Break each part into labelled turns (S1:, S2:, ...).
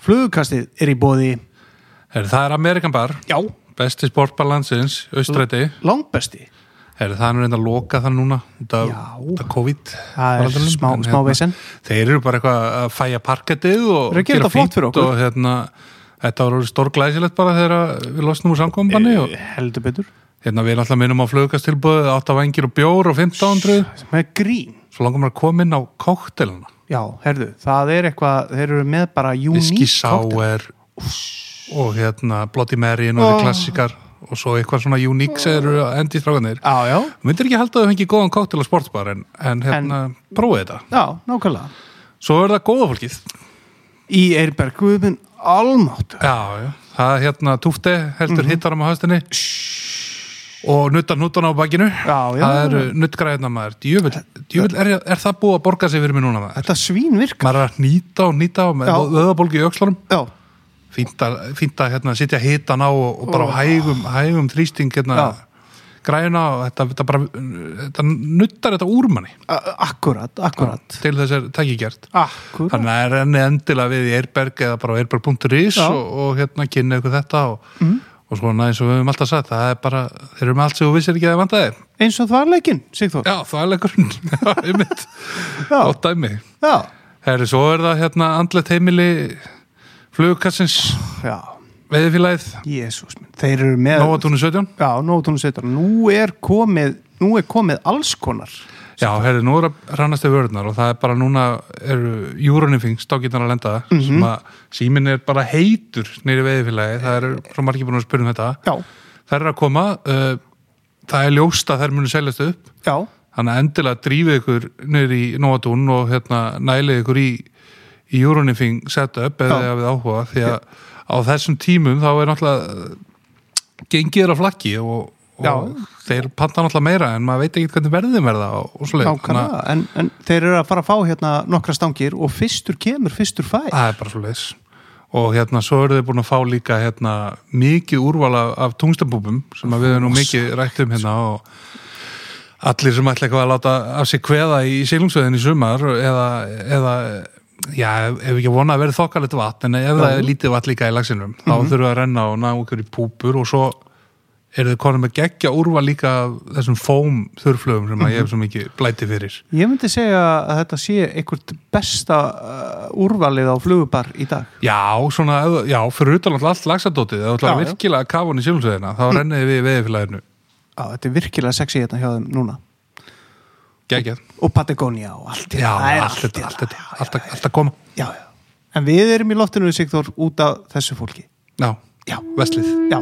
S1: Flugukastið er í bóði
S2: Her, það er Amerikan bar,
S1: Já,
S2: besti sportbar landsins, austræti.
S1: Mm. langbesti
S2: Her, það er nú reynda að loka það núna, það,
S1: Já.
S2: það COVID.
S1: Það er
S2: faraldrinum,
S1: smá-
S2: en hérna,
S1: smá vesen.
S2: Þeir eru bara eitthvað að fæja parkettið og
S1: Þeir eru að gera þetta flott fyrir okkur.
S2: Og, hérna, þetta var orðið stórglæsilegt bara þegar að við losnum úr samkombanni
S1: Eh.
S2: og
S1: Heldur betur
S2: hérna við erum alltaf minnum á flugkastilbúið, 8 vengir og bjór og 1500.
S1: Með grín
S2: Svo langar maður að koma inn á kóktelina.
S1: Já, herðu, það er eitthvað Þeir eru með bara
S2: Whisky
S1: unique cocktail.
S2: Sour og hérna Bloody Mary og
S1: Oh.
S2: oh. klassikar og svo eitthvað svona unique
S1: Ah.
S2: sem eru að endi strákanir
S1: Já, já,
S2: myndir ekki halda að þau fengi góðan kóktel á sportbar en, en hérna, prófið þetta
S1: já, nákvæmlega
S2: svo er það góða fólkið
S1: Í Eirberg Guðbun Almáttur
S2: já, já. það er hérna túfte heldur mm
S1: Mhm.
S2: -hmm. hittarum á höstinni og nutta nútana á bakinu
S1: Já, já.
S2: það eru nuttgræðina maður djöfull, djöfull er, er það búið að borga sig fyrir mig núna maður?
S1: Þetta svín virka
S2: maður er að nýta og nýta
S1: Já.
S2: og með vöðabólgi í öxlunum
S1: Já,
S2: fínt að, fínt að hérna, sitja hitan á og, og bara á hægum, hægum þrýsting hérna, græna og þetta, þetta bara þetta nuttar þetta úr manni
S1: a- akkurat, akkurat
S2: til þess er tæki gert
S1: Akkurat
S2: þannig að renni endilega við í Eirberg eða bara á eirberg.is
S1: Já. Mhm.
S2: og, og hérna kynna ykkur þetta og, og svona eins og við höfum alltaf sagt það er bara, þeir eru með allt sem þú vissir ekki að það vandaði
S1: Eins og það var leikinn, Sigþór
S2: já, það er leikurinn, já, einmitt
S1: Já.
S2: og dæmi
S1: Já,
S2: Herri, svo er það hérna andlet heimili flugkassins
S1: já,
S2: veðifélagið,
S1: jésús minn Þeir eru með
S2: Nóatúni 17
S1: Já, nótunum setur Nú er komið, nú er komið alls konar
S2: Já, herri, nú er að rannast við vörðnar og það er bara núna eru júrunifing stákitan að lenda
S1: Mhm.
S2: mm sem að síminn er bara heitur nýri veiðfélagi, það er svo margir búin að spyrja um þetta.
S1: Já,
S2: Það er að koma uh, það er ljóst að þær munu seljast upp
S1: já,
S2: þannig að endilega drífið ykkur nýri í Nóatún og hérna nælið ykkur í, í júrunifing setup
S1: Já.
S2: eða Já. við áhuga því að á þessum tímum þá er náttúrulega gengið er að flakki og, og
S1: Já.
S2: þeir panta náttúrulega meira en maður veit ekki hvernig verðið verða og, og svoleið. Þannig að-
S1: nákvæmlega en, en þeir eru að fara að fá hérna nokkra stangir og fyrstur kemur, fyrstur fær
S2: Það er bara svo leis og hérna svo eru þau búin að fá líka hérna, mikið úrval af, af tungstabúbum sem að við erum nú mikið rætt um hérna og allir sem ætla eitthvað að láta af sér kveða í sílungsveðin í sumar eða, eða já, ef ef ekki að vona að verði þokkalegt vatn en ef það er lítið vatn líka í lagsinum þá þurfum við að renna og ná ykkur í púpur og svo eru þau konum að gegja úrval líka af þessum fóm þurflögum sem að ég hef svo mikið blæti fyrir
S1: Ég myndi segja að þetta sé einhvert besta uh, úrvalið á flugubar í dag
S2: Já, svona, ef- já, fyrir utan alltaf allt lagsadótið,
S1: Já,
S2: það var
S1: já. Hm.
S2: virkilega kafan í sjálfsveðina, þá renniði við í veðifélaginu
S1: Já, þetta er virkilega sexy hérna hjá þeim núna
S2: geggjað.
S1: og Patagonia og allt
S2: Já,
S1: það er
S2: allt þetta,
S1: hérna.
S2: allt þetta, allt að- allt að koma
S1: Já, já. En við erum í loftinu Sigþór út af þessu fólki
S2: Já,
S1: Já,
S2: veslið
S1: já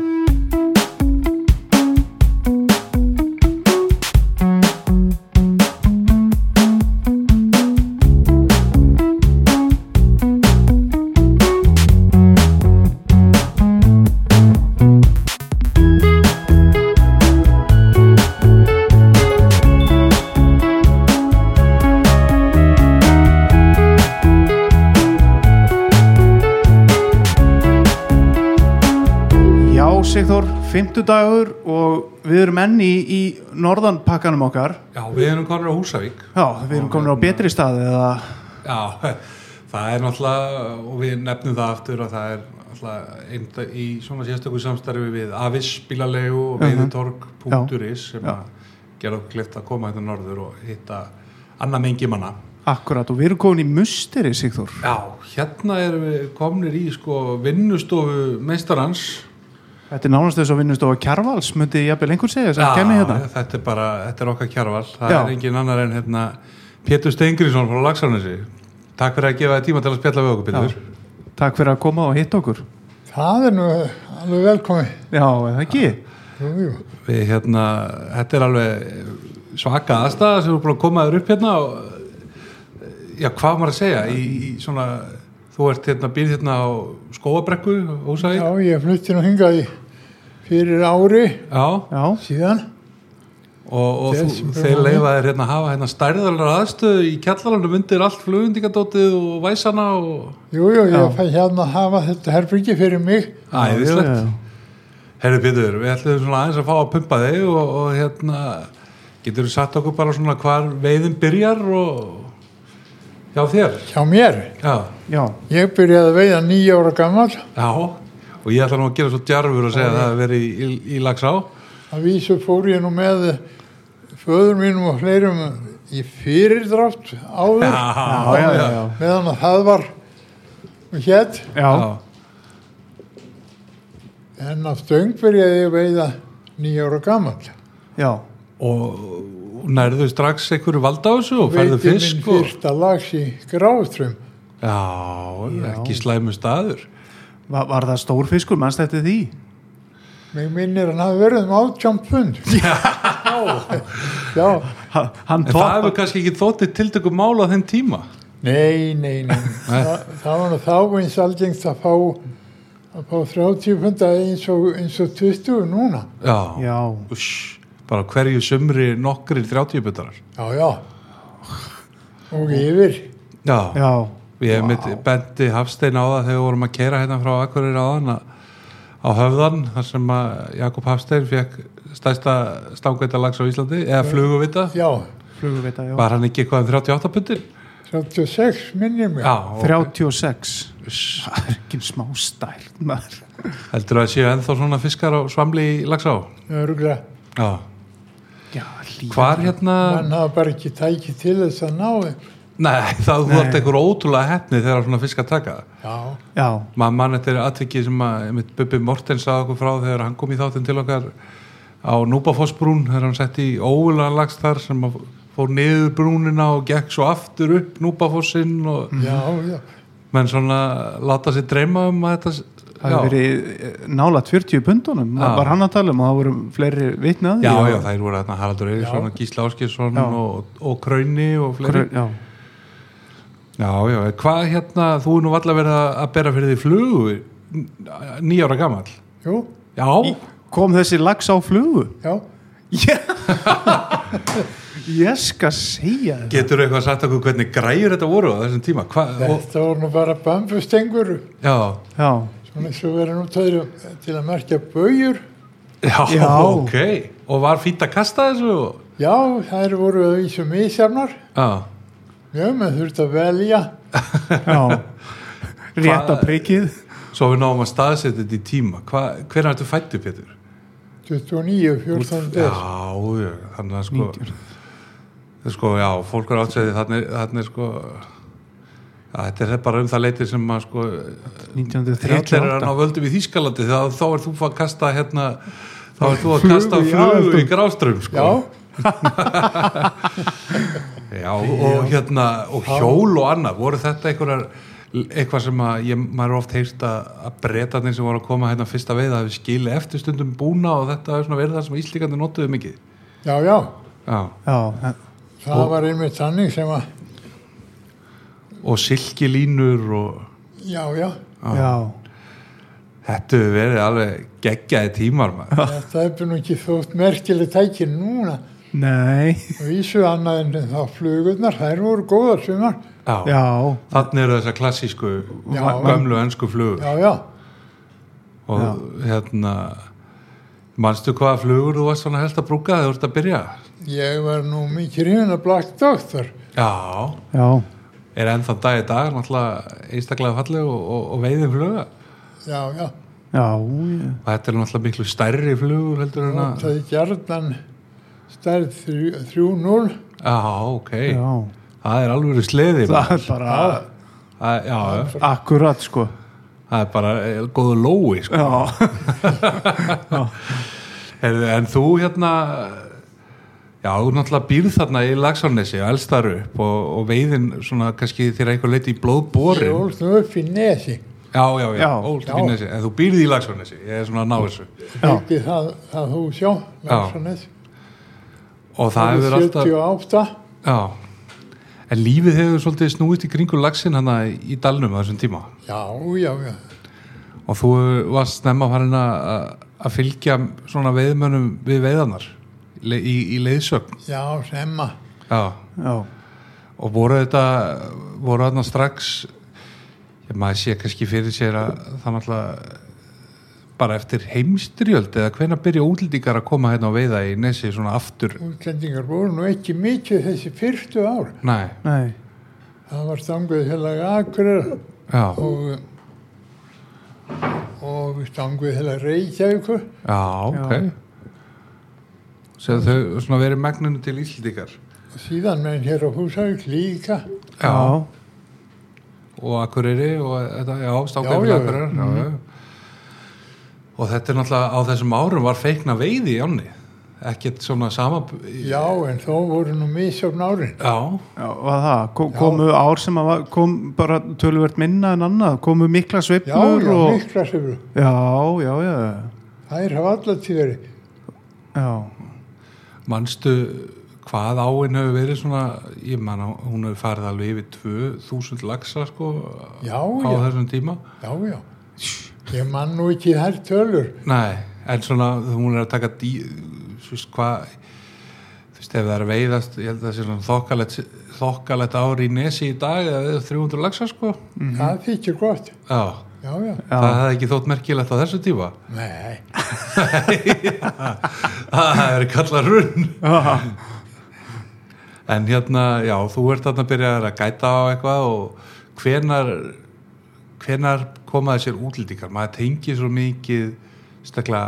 S1: Já, Sigþór, fimmtudagur og við erum enni í, í norðanpakkanum okkar.
S2: Já, við erum konur á Húsavík
S1: Já, við erum komin á betri staði eða...
S2: Já, það er náttúrulega og við nefnum það aftur að það er náttúrulega einda, í svona sérstöku samstarfi við Avis bílalegu og veiðitorg.is sem
S1: Mhm. Já.
S2: að gera okkur klift að koma hérna norður og hitta annað mengi manna
S1: Akkurat, og við erum komin í musteri, Sigþór.
S2: Já, hérna erum við komnir í sko vinnustofu meistarans
S1: Þetta er nánast þess að vinnust á kjarvals, myndi ég jafnvel einhvern segja sem kemur hérna.
S2: já, þetta er bara, þetta er okkar kjarval það
S1: Já.
S2: er engin annar en hérna Pétur Stengriðsson frá Lagsarnesi Takk fyrir að gefa þér tíma til að spjalla við okkur Pétur
S1: Takk fyrir að koma og hitta okkur.
S3: Það er nú alveg velkomi.
S1: Já, eða ekki?
S3: Jú, jú.
S2: Við hérna, þetta er alveg svaka aðstæða sem við erum búin að koma þér upp hérna og já, hvað á maður að segja í, í svona, þú ert hérna býrð hérna á skóabrekku, ósæði
S3: Já, ég flutti nú hingað í fyrir ári
S2: Já,
S1: Já,
S3: síðan.
S2: og, og
S3: Þeir
S2: þú,
S3: sem
S2: þeir
S3: eru
S2: leifa þér hérna að hafa hérna stærðalara aðstöðu í kjallaranum undir allt flugundingadótið og væsana og
S3: Jú, jú,
S1: Já.
S3: ég fæ hérna að hafa þetta herbyggi fyrir mig.
S1: Já, já,
S2: æðislegt
S1: já.
S2: Herri Pétur, við ætlum svona aðeins að fá að pumpa þig og, og hérna getur þú sagt okkur bara svona hvar veiðin byrjar og Já, þér.
S3: hjá mér.
S2: Já,
S1: já,
S3: Ég byrjaði að veiða nýja ára gammal
S2: já. Og ég ætla nú að gera svo djarfur og segja að það hafi verið í, í, í Lagsá.
S3: að vísu fór ég nú með föður mínum og fleirum í fyrirdrátt áður
S1: já, já, já,
S3: meðan að það var hér
S1: já.
S2: já.
S3: en að stöng byrjaði ég að veiða nýja ára gammal
S1: já.
S2: Og nærðu strax einhverju valda á þessu og færðu
S3: veiti minn
S1: sko?
S2: fisk og...
S3: fyrsta lags í gráðtrum
S2: Já, ekki slæmu staður.
S1: Var, var það stór fiskur, mannst eftir því?
S3: mig minnir hann hafi verið um átján pund já já,
S1: Ha, hann
S2: En það
S1: toppar
S2: hefur kannski ekki þóttið tiltökum mála á þeim tíma.
S3: nei, nei, nei Þa, það var nú þá eins algengt að fá að fá 30 punda eins og, eins og 20 núna
S2: Já.
S1: Já,
S2: Uss, bara hverju sumri nokkrir 30 butarar.
S3: já, já og yfir
S2: Já.
S1: já,
S2: Ég hef mitt bendi Hafstein á það þegar við vorum að keira hérna frá Akureyri áðan að- á höfðan þar sem að Jakob Hafstein fekk stærsta stangveitalags á Íslandi eða fluguvita.
S3: já,
S1: flugurvita, já.
S2: Var hann ekki eitthvað um 38 pundir?
S3: 36 minnir mig
S2: Já. og
S1: 36. Það er ekki smá stærn, maður.
S2: Heldur að séu ennþá svona fiskar á svamli í lagsá?
S3: örgulega
S2: Já.
S1: Já, líka.
S2: Hvar hérna?
S3: hann hafa bara ekki tækið til þess að ná þeim
S2: Nei, það þú ert einhver ótrúlega hefni þegar svona fiskar taka það.
S3: já,
S1: Já,
S2: maður mann þetta er aðtekki sem að einmitt Bubbi Mortens sagði okkur frá þegar hann kom í þáttinn til okkar á Núbafossbrún þegar hann sett í óvulagan lagst þar sem að fór niður brúnina og gekk svo aftur upp Núbafossinn og
S1: Mm.
S3: já, já
S2: menn svona láta sér dreyma um að
S1: það
S2: þetta
S1: hefur verið eh, nála 40 pundunum.
S2: Já.
S1: Var hann að tala um og það voru fleiri vitnaði.
S2: já, já, þær voru þarna Haraldur Eiríksson og Gísla Áskilsson
S1: Já.
S2: og, og Krauni og fleiri
S1: Hver- Já,
S2: Já, já, en hvað hérna, þú er nú valla verið að að bera fyrir því flugu nýjára gamall
S3: jú,
S2: Já,
S1: kom þessi lags á flugu?
S3: já
S1: Já. Ég skal segja þetta.
S2: getur eitthvað sagt okkur hvernig græjur þetta voru á þessum tíma Hva, og,
S3: Þetta voru nú bara bambustengur
S2: Já,
S1: Já,
S3: svona eins og verið nú tæri til að merkja baugur
S2: já,
S1: Já.
S2: ok Og var fýtt að kasta þessu og...
S3: Já, þær voru að vísu misjafnar
S2: Já,
S3: Já, maður þurfti að velja
S1: já. Rétta prikið.
S2: svo við náum að staðsetja þetta í tíma Hva, Hver er þetta fættu, Pétur?
S3: 29, 14
S2: Já,
S3: des
S2: já, þannig að sko Það er sko, já, fólk er átsæði þannig, þannig er sko Já, þetta er bara um það leiti sem að sko Hitler er hann á
S1: 1938.
S2: völdum í Þýskalandi þá, þá er þú að kasta hérna þá er þú að kasta
S3: Flugu í
S2: flugu í
S3: aðalstund.
S2: grástrum
S3: Já,
S2: sko. Já, og hérna, og hjól og annað, voru þetta einhverjar, eitthvað sem að ég, maður er oft heyrst að, að breytanir sem voru að koma hérna fyrsta veið að við skilja eftir stundum búna og þetta er svona verið það sem Íslíkandi notuðu mikið.
S3: já, já
S2: Já,
S1: Já,
S3: Það var einmitt þannig sem að
S2: og silkilínur og
S3: Já, já,
S1: já.
S2: þetta hefur verið alveg geggjaði tímar maður.
S3: þetta hefur nú ekki þótt merkileg tæki núna
S1: Nei,
S3: og vísu annað en þá flugurnar þær voru góðar sumar
S2: Já,
S1: já,
S2: þannig eru þessa klassísku,
S3: Já.
S2: gömlu ennsku flugur.
S3: Já, já,
S2: og hérna, manstu hvaða flugur þú varst svona helst að brúka þegar þú ert að byrja?
S3: ég var nú mikið hrifin að Black Doctor
S2: Já,
S1: já,
S2: er ennþá dag í dag náttúrulega einstaklega falleg og, og, og veiðin fluga
S3: Já, já,
S1: já,
S2: og þetta er náttúrulega miklu stærri flugur heldur en að
S3: það er gjarnan stærð þrjú- 3-0
S2: já, ok,
S1: já, já.
S2: það er alveg sleði
S1: Það er bara
S2: það, já, já,
S1: akkurat sko.
S2: það er bara eh, góður lói sko.
S1: Já,
S2: en, en þú hérna já, þú náttúrulega býrð þarna í Lagsarnesi og elst þar upp og, og veiðin svona kannski þegar eitthvað leiti í
S3: Ég
S2: blóðborin
S3: ólst nú upp í nesi
S2: já, já, já,
S1: Já.
S2: ólst
S3: Já.
S2: ekki í Nesi en þú býrð í Lagsarnesi, ég er svona að ná þessu
S1: Já.
S3: ekki það, það hús já Laxanes
S2: og það
S3: það
S2: hefur
S3: er
S2: alltaf
S3: 78
S2: Já, en lífið hefur svolítið snúist í kringu lagsin hana í dalnum á þessum tíma
S3: já, já, já,
S2: og þú varst snemma farin að að fylgja svona veiðmönnum við veiðarnar le- í, í leiðsögn
S3: já, semma
S2: Já,
S1: já,
S2: og voru þetta voru þarna strax ég maður sé kannski fyrir sér að það náttúrulega bara eftir heimstyrjöld eða hvenær byrja útlýtingar að koma hérna og veiða í nesi svona aftur
S3: útlendingar voru nú ekki mikið þessi fyrstu ár
S2: Nei,
S1: nei,
S3: það var stanguð heilag Akureyra
S2: já,
S3: og og stanguð heilag Reykjavíkur
S2: já,
S1: Já.
S2: ok sem þau svona verið megninu til Íslandíkar
S3: og síðan menn hér á Húsavík líka
S1: já,
S2: og Akureyri og þetta, já,
S3: Já, Mhm.
S2: stákaði
S3: já, já.
S2: Akureyrar já, já. og þetta er náttúrulega á þessum árum var feikna veiði í ánni ekkert svona sama
S3: já en þó voru nú misjöfn árin
S2: já,
S1: já, var það Ko- komu ár sem að var, kom bara tölvöld minna en annað, komu mikla
S3: já,
S1: sveiflur
S3: já,
S1: og
S3: mikla sifru
S1: já, já, já,
S3: þær hafa allar tíðari
S1: já
S2: manstu hvað áin hefur verið svona ég man að hún hefur farið alveg yfir 2000 laxa sko
S3: já,
S2: á
S3: já,
S2: þessum tíma
S3: já, já ég man nú ekki þær tölur
S2: nei, en svona hún er að taka dí, þú veist hvað þú veist ef það er að veiðast ég held að það sé svona þokkalett þokkalett ári í nesi í dag eða veiða 300 laxa sko
S3: það þykir gott
S2: já,
S3: já, já,
S2: það hefði ekki þótt merkilegt á þessu tíma
S3: nei
S2: það er kallað runn
S1: já,
S2: En hérna, já, þú ert þarna að byrja að gæta á eitthvað og hvenar, hvenar komaði sér útlýtingar? Maður tengi svo mikið, stakla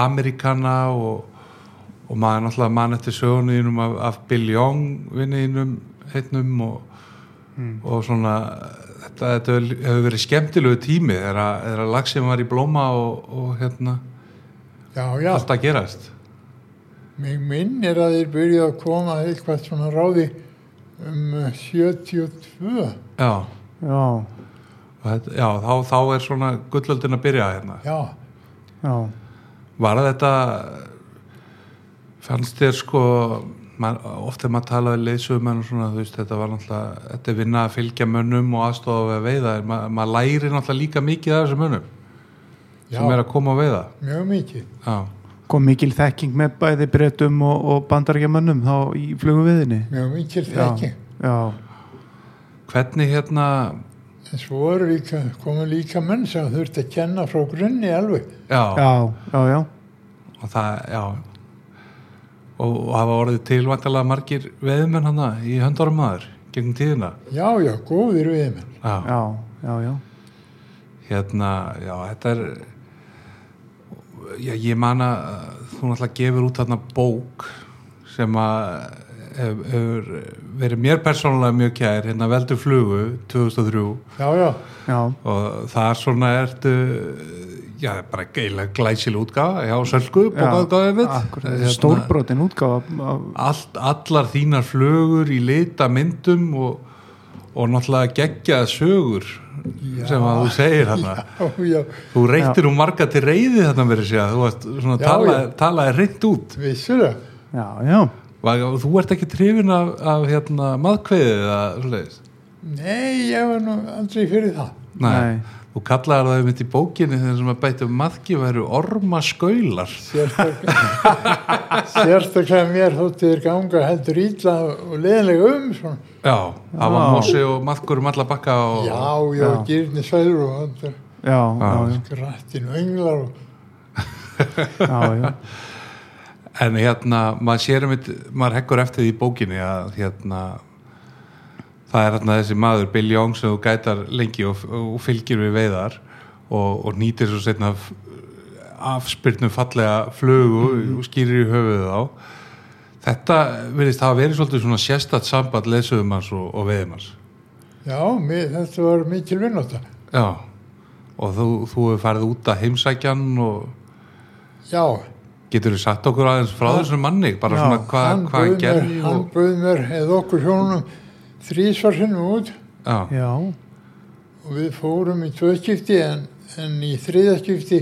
S2: Amerikana og, og maður náttúrulega mann eftir söguninum af, af Bill Young vinninum, heitnum og, og svona, þetta, þetta hefur verið skemmtilegu tími þegar að- þegar að lagsin var í blóma og, og hérna,
S3: já, já,
S2: allt að gerast.
S3: mig minn er að þeir byrjuð að koma eitthvað svona ráði um eh, 72
S2: Já,
S1: já,
S2: og þetta, já þá, þá er svona gullöldin að byrja hérna.
S3: já,
S1: já.
S2: Var þetta fannst þér sko man, oft þegar maður talaði leysum og svona þú veist þetta var náttúrulega þetta er vinna að fylgja mönnum og aðstofa við að veiða en ma, maður læri náttúrulega líka mikið af þessum mönnum
S3: já,
S2: sem er að koma að veiða
S3: mjög mikið
S2: Já,
S1: kom mikil þekking með bæði breytum og, og bandarækjamönnum þá í flugum viðinni
S3: mjög mikið þekking
S1: já,
S2: hvernig hérna
S3: En svo voru líka, komu líka menn sem þurfti að kenna frá grunni alveg.
S2: já,
S1: já, já, já.
S2: og það, já og, og hafa orðið tilvæntalega margir veiðmenn hana í höndarum maður gegn tíðina
S3: Já, já, góðir við menn.
S2: Já,
S1: já, já, já.
S2: hérna, já, þetta er já, ég man að þú náttúrulega gefur út þarna bók sem að hef- hefur verið mér persónulega mjög kær, hérna Veldu flugu 2003
S3: Já, já,
S1: já,
S2: og þar svona ertu já, bara geilega glæsileg útgáfa já, sölku, bókaðgáðið mitt Hérna,
S1: akkurat, þetta er hérna- stórbrotin útgáfa af-
S2: allt, allar þínar flugur í lita myndum og, og náttúrulega geggjaða sögur sem að þú segir þarna
S3: já, já,
S2: Þú reyktir nú marga til reyði þarna verið sér að þú varst svona
S3: Já,
S2: talaði,
S3: já.
S2: talaði reynd út
S3: vissulega.
S1: já, já,
S2: Var- og þú ert ekki trefin af, af hérna, maðkveðið eða svoleiðis
S3: Nei, ég var nú aldrei fyrir það.
S2: Nei.
S1: Nei.
S2: Þú kallaðar það um þetta í bókinni þegar sem að bæta um maðki væru ormaskaular
S3: Sérstaklega, sérstaklega mér þótti þér ganga heldur ítla og leðilega um svona.
S2: Já, það var
S1: Já.
S2: mosi og maðkur um alla bakka og
S3: Já, já,
S1: Já.
S3: gyrni sælur og andur.
S1: já, já, já,
S3: Grættin og englar og
S1: já, já.
S2: En hérna, maður sér um þetta maður hekkur eftir því í bókinni að hérna það er hérna þessi maður Bill Young sem þú gætar lengi og, og fylgir við veiðar og, og nýtir svo setna afspyrnum fallega flugu og skýrir í höfuðið á þetta verðist hafa verið svolítið svona sérstætt samband lesuðumans og, og veiðumans
S3: já, mér, þetta var mikil vinnóta.
S2: já og þú, þú hefur farið út að heimsækjan og
S3: Já,
S2: getur þú sagt okkur aðeins frá þessum manni bara
S1: Já,
S2: svona hva,
S3: hann,
S2: hvað hann
S3: bauð mér,
S2: gerði
S3: hann
S2: og,
S3: bauð mér eða okkur hjónum þrísvarsinnum út
S2: já,
S1: já.
S3: og við fórum í tvöskipti en, en í þriðaskipti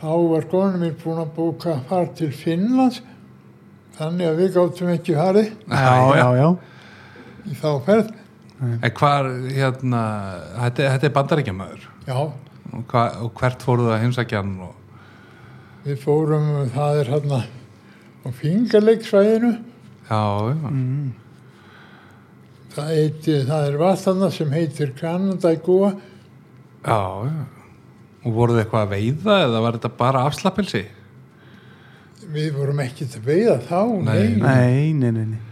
S3: þá var konum mér búin að bóka far til Finnlands þannig að við gáttum ekki farið
S1: já, já, já.
S3: í þá ferð
S2: En hvar, hérna, þetta, þetta er bandarækjamaður
S3: já,
S2: og, hva, og hvert fóruð það heimsækjan og,
S3: við fórum það er hérna á fingarleiksvæðinu
S2: já, já,
S3: það, heiti, það er vatnana sem heitir Kanadagúa
S2: já, já. Og voruð þið eitthvað að veiða eða var þetta bara afslappilsi?
S3: við vorum ekkert að veiða þá
S2: Nei.
S3: nei.
S1: nei, nei, nei, nei.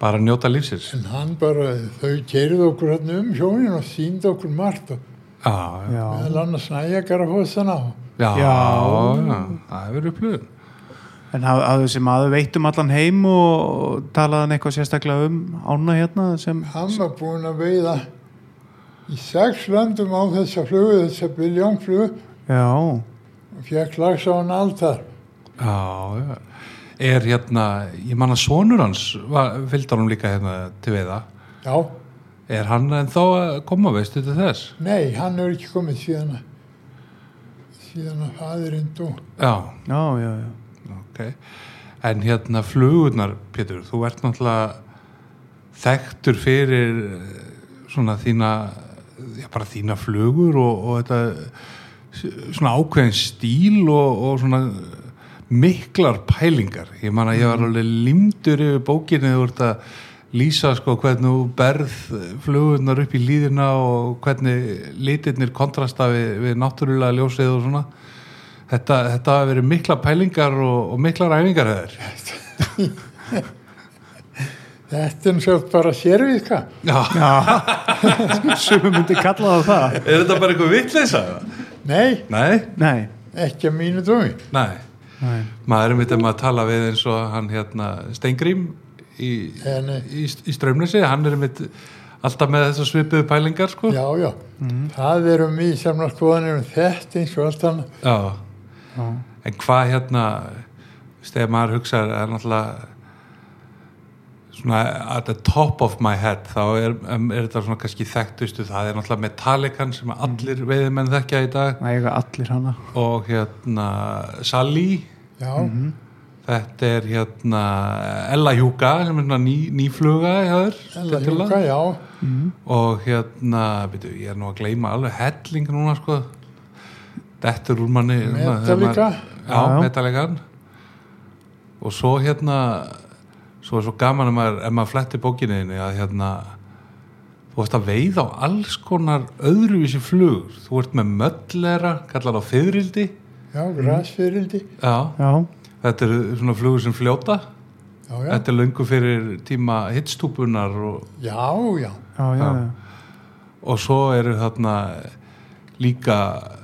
S2: bara njóta lífsins
S3: en hann bara, þau kerið okkur hann um hjónin og síndi okkur margt og
S2: Já, já,
S1: Já,
S3: meðal annars nægjagara hóðsana og
S2: já,
S1: Já.
S2: já. það hefur upplöðun
S1: en haf- hafði þessi maður veitt um allan heim og talaðan eitthvað sérstaklega um ána hérna sem
S3: hann var búinn að veiða í sex löndum á þessa flugu, þessa biljónflugu
S1: Já,
S3: og fekk lags á hann alltaf
S2: Já, já. Er hérna, ég man að sonur hans var, fylgdar hún líka hérna til veiða.
S3: já,
S2: Er hann ennþá að koma, veistu til þess?
S3: nei, hann er ekki komið síðan að síðan að fæðurinn dó
S2: Já,
S1: já, já, já.
S2: ok. En hérna flugurnar, Pétur, þú ert náttúrulega þekktur fyrir eh, svona þína, já bara þína flugur og, og þetta s- svona ákveðin stíl og, og svona miklar pælingar. Ég man að ég var alveg limdur yfir bókinni þú ert að lýsa sko hvernig þú berð flugurnar upp í líðina og hvernig litirnir kontrasta við, við náttúrulega ljósið og svona. Þetta, þetta hafa verið mikla pælingar og, og miklar æfingar hefur.
S3: þetta er náttúrulega bara sérvika
S2: Já.
S1: Já, sumum myndi kalla það það.
S2: Er þetta bara eitthvað vitleisa?
S3: nei,
S2: Nei,
S1: Nei,
S3: ekki að mínu dómi
S2: nei.
S1: nei.
S2: Maður er mitt um að tala við eins og hann hérna Steingrím í,
S3: Eh, nei.
S2: í, í strömnesi. Hann er mitt alltaf með þessar svipuðu pælingar sko.
S3: já, já, það eru mjög samna skoðanir um þetta eins og allt annað
S2: Já.
S1: Já.
S2: En hvað hérna, þegar maður hugsa er náttúrulega svona at the top of my head þá er, er þetta svona kannski þekktustu það er náttúrulega Metallican sem allir veiðimenn þekkja í dag
S1: Það eiga allir hana.
S2: og hérna Sally
S3: já,
S2: þetta er hérna Ella Hjúka sem er svona ný, nýfluga hjá þér
S3: en það
S2: tiltölulega.
S3: hjúka, já
S2: og hérna byrju, ég er nú að gleyma alveg helling núna sko dettur úr manni hérna, þegar maður-
S3: Metallica.
S2: já,
S1: Já.
S2: metallíkan og svo hérna svo er svo gaman ef maður, ef maður fletti bókininni að hérna þú ert að veið á alls konar öðruvísi flugur, þú ert með möllera kallar á fyrildi
S3: já, græsfyrildi
S2: já,
S1: Já,
S2: þetta eru svona flugur sem fljóta
S3: já, já,
S2: þetta er löngu fyrir tíma hittstúpunar og,
S3: já, já
S1: já, já.
S2: Já.
S1: já.
S2: og svo eru þarna líka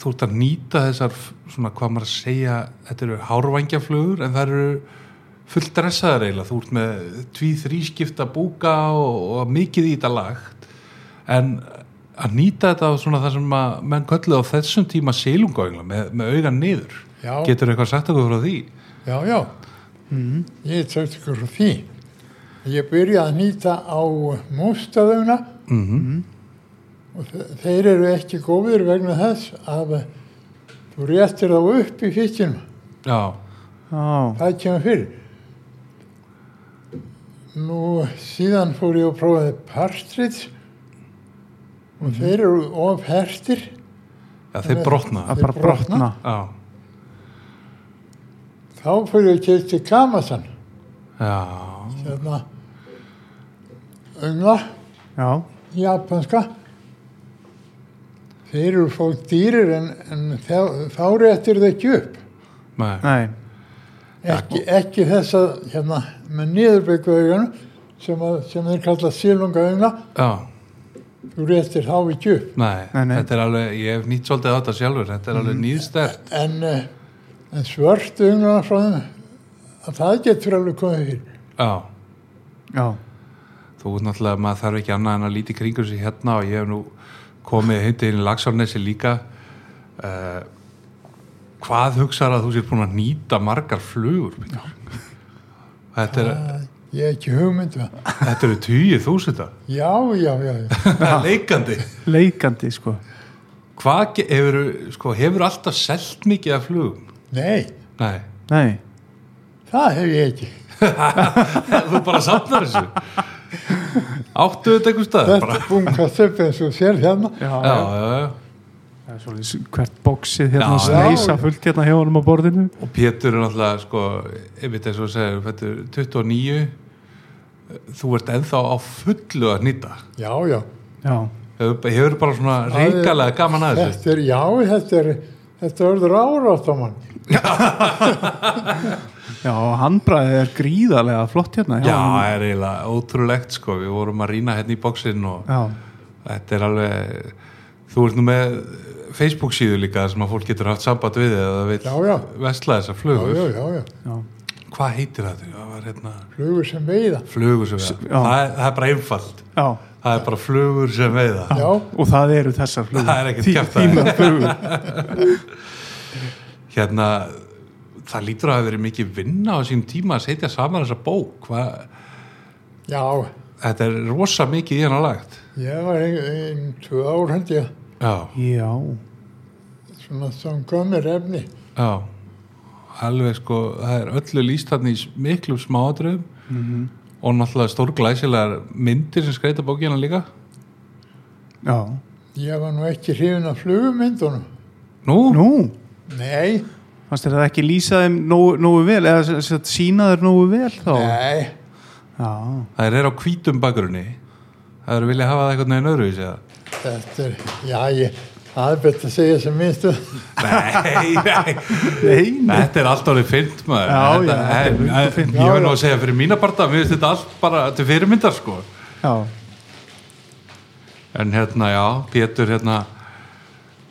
S2: þú ert að nýta þessar svona hvað maður að segja, þetta eru hárvangjaflugur en það eru fullt dressaðar eiginlega, þú ert með tví þrískipta búka og, og mikið í þetta lagt en að nýta þetta á svona það sem að menn kölluð á þessum tíma selunga með, með augan niður
S3: Já.
S2: getur eitthvað sagt okkur frá því
S3: Já, já. Ég hef sagt ykkur frá því. Ég byrjaði að nýta á mústaðuna
S2: mm
S3: og þe- þeir eru ekki góðir vegna þess að þú réttir þá upp í fiskinum.
S2: já,
S1: Já,
S3: Það kemur fyrir. Nú, síðan fór ég og prófaði partridge og þeir eru of hertir.
S2: já, þeir brotna
S1: að bara brotna.
S2: já,
S3: Þá fór ég að kemta kamasan,
S2: já,
S3: hérna, öngla.
S1: Já,
S3: japanska þeir eru fólk dýrir en, en þá, þá réttir það ekki upp
S2: með
S1: nei,
S3: ekki, ekki þess að hérna, með niðurbyggaugunum sem, að- sem þeir kalla sílungaugna
S2: já
S3: þú réttir þá ekki upp
S2: Nei,
S1: Nei, Mm. nei.
S2: þetta er alveg, ég hef nýtt svolítið á þetta sjálfur, þetta er alveg nýðstert.
S3: en, eh, en svört augnana frá þeim að það getur alveg komið fyrir
S2: Já,
S1: já,
S2: þú veist náttúrulega, maður þarf ekki annað en að líti kringur sig hérna og ég hef nú komið hindi inn í Lagsárnesi líka. Uh, hvað hugsar að þú sér búin að nýta margar flugur? Pétur? Þetta, er,
S3: ég hef ekki hugmynd um það.
S2: þetta eru tíu þúsunda,
S3: já, já, já, já.
S2: leikandi.
S1: leikandi sko.
S2: Hvað ge- hefur, sko, hefur alltaf selt mikið af flugum?
S3: nei,
S2: Nei,
S1: Nei,
S3: það hef ég ekki
S2: þú bara safnar þessu. Áttu þetta einhver stað?
S3: þetta
S2: bara?
S3: er bunkast upp eins og sér hérna
S1: já,
S2: Já, já, já.
S1: Það er svolítið hvert bóksið hérna,
S2: Já,
S3: já.
S1: sneisa fullt hérna hjá honum á borðinu.
S2: og Pétur er náttúrulega sko, einmitt eins og þú segir, Pétur, 29 þú ert ennþá á fullu að nýta
S3: já, já
S1: Já,
S2: hefur hefur bara svona
S3: Það er-
S2: reikalega gaman að þessu
S3: Þetta er, já, þetta er, þetta er orður árátt á mann.
S1: Já, handbræðið er gríðarlega flott hérna.
S2: Já,
S1: honum.
S2: það er eiginlega ótrúlegt sko, við vorum að rýna hérna í bóksinn og
S1: Já,
S2: þetta er alveg, þú ert nú með Facebook síðu líka þar sem að fólk getur haft samband við þig eða
S3: Já,
S2: vil
S3: já.
S2: vesla þessar
S3: já,
S2: flugur.
S3: já, já, já.
S1: já.
S2: Hvað heitir þetta? Það var hérna
S3: Flugur sem veiða.
S2: flugur sem veiða.
S1: já.
S2: Það er, það er bara einfalt.
S1: Já,
S2: Það er bara flugur sem veiða.
S3: Já,
S1: og það eru þessar flugur.
S2: Það er ekkert
S1: Þí-
S2: kjaftæði.
S1: Þínar flugur.
S2: Hérna, það lítur að hafa verið mikið vinna á sínum tíma að setja saman þessa bók. Hvað,
S3: já,
S2: þetta er rosa mikið í hana lagt.
S3: ég var ein, ein tvö ár held ég,
S2: Já,
S1: Já,
S3: svona þangað mér efni.
S2: já. Alveg sko, það er öllu líst þarna í s- miklum smáatröðum og náttúrulega stórglæsilegar myndir sem skreita bókina líka.
S1: já.
S3: Ég var nú ekki hrifin af flugumyndunum.
S2: Nú?
S1: Nú,
S3: Nei,
S1: fannst þér það ekki lýsa þeim nógu, nógu vel, eða sem sagt, sýna þeir nógu vel þá?
S3: nei,
S1: Já,
S2: Það er á hvítum bakgrunni. Það eru vilja hafa það einhvern veginn öðru í sig það.
S3: þetta er, já, ég, það er betur að segja sem minnstu.
S2: Nei, nei.
S1: nei, nei.
S2: Þetta er allt orðið fint maður.
S1: Já,
S2: þetta,
S1: já, þetta er
S2: en-
S1: löngu fínt.
S2: Ég verð
S3: Já,
S2: nú
S3: já.
S2: að segja fyrir mína parta, mér finnst þetta allt bara til fyrirmyndar sko.
S1: Já,
S2: En hérna, já, Pétur, hérna,